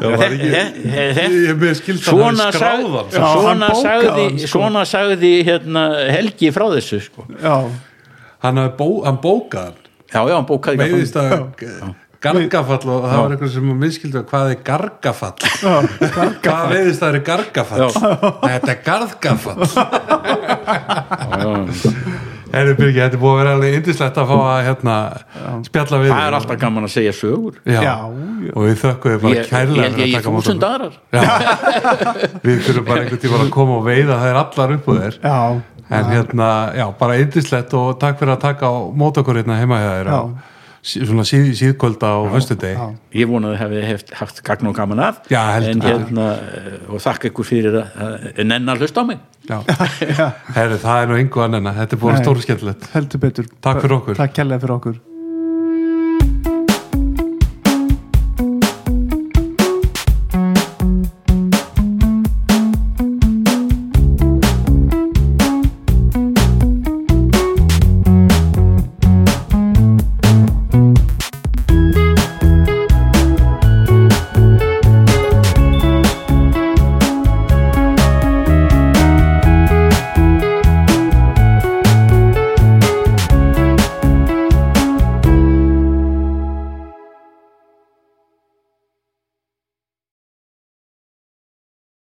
S2: Já, var ekki Ég með skildi að hann
S5: svona,
S2: hafi
S5: sag,
S2: skráð hann sko.
S1: Já, hann
S5: svona,
S1: bókaði
S5: sagði,
S1: hann, sko.
S5: svona sagði hérna, Helgi frá þessu sko.
S1: já.
S2: hann, hafði bó, hann bókað hann
S5: já, já, hann bókaði ekki
S2: meiðist að gargafall og það var einhver sem miskildi hvað er gargafall hvað veiðist það er gargafall þetta er gargafall
S5: Já, já.
S2: Herri Birgi, þetta er búið að vera alveg yndislegt að fá að hérna, spjalla við
S5: það er
S2: þig.
S5: alltaf gaman að segja sögur
S2: já.
S1: Já, já.
S2: og við þökkum við
S5: ég,
S2: bara
S5: ég
S2: kærlega
S5: held ég í
S2: á móti
S5: þúsund
S2: okkur.
S5: aðrar
S2: við þurfum bara einhvern tíma að koma og veiða það er allar upp á þér
S1: já.
S2: en hérna, já, bara yndislegt og takk fyrir að taka á mót okkur hérna heima hjá þér
S1: Já.
S2: á sí- svona síð, síðkvölda og höstudeg
S1: já.
S5: ég vonaði að hefði heft, haft gagn og gaman að
S2: Já, heldur
S5: en,
S2: betur.
S5: hérna, eh, og þakka ykkur fyrir að, að nenn að hlusta á mig
S2: herri, það er nú engu annað en að þetta er búið
S1: Nei.
S2: stóru skemmtilegt
S1: heldur betur
S2: Takk fyrir okkur.
S1: Takk kærlega fyrir okkur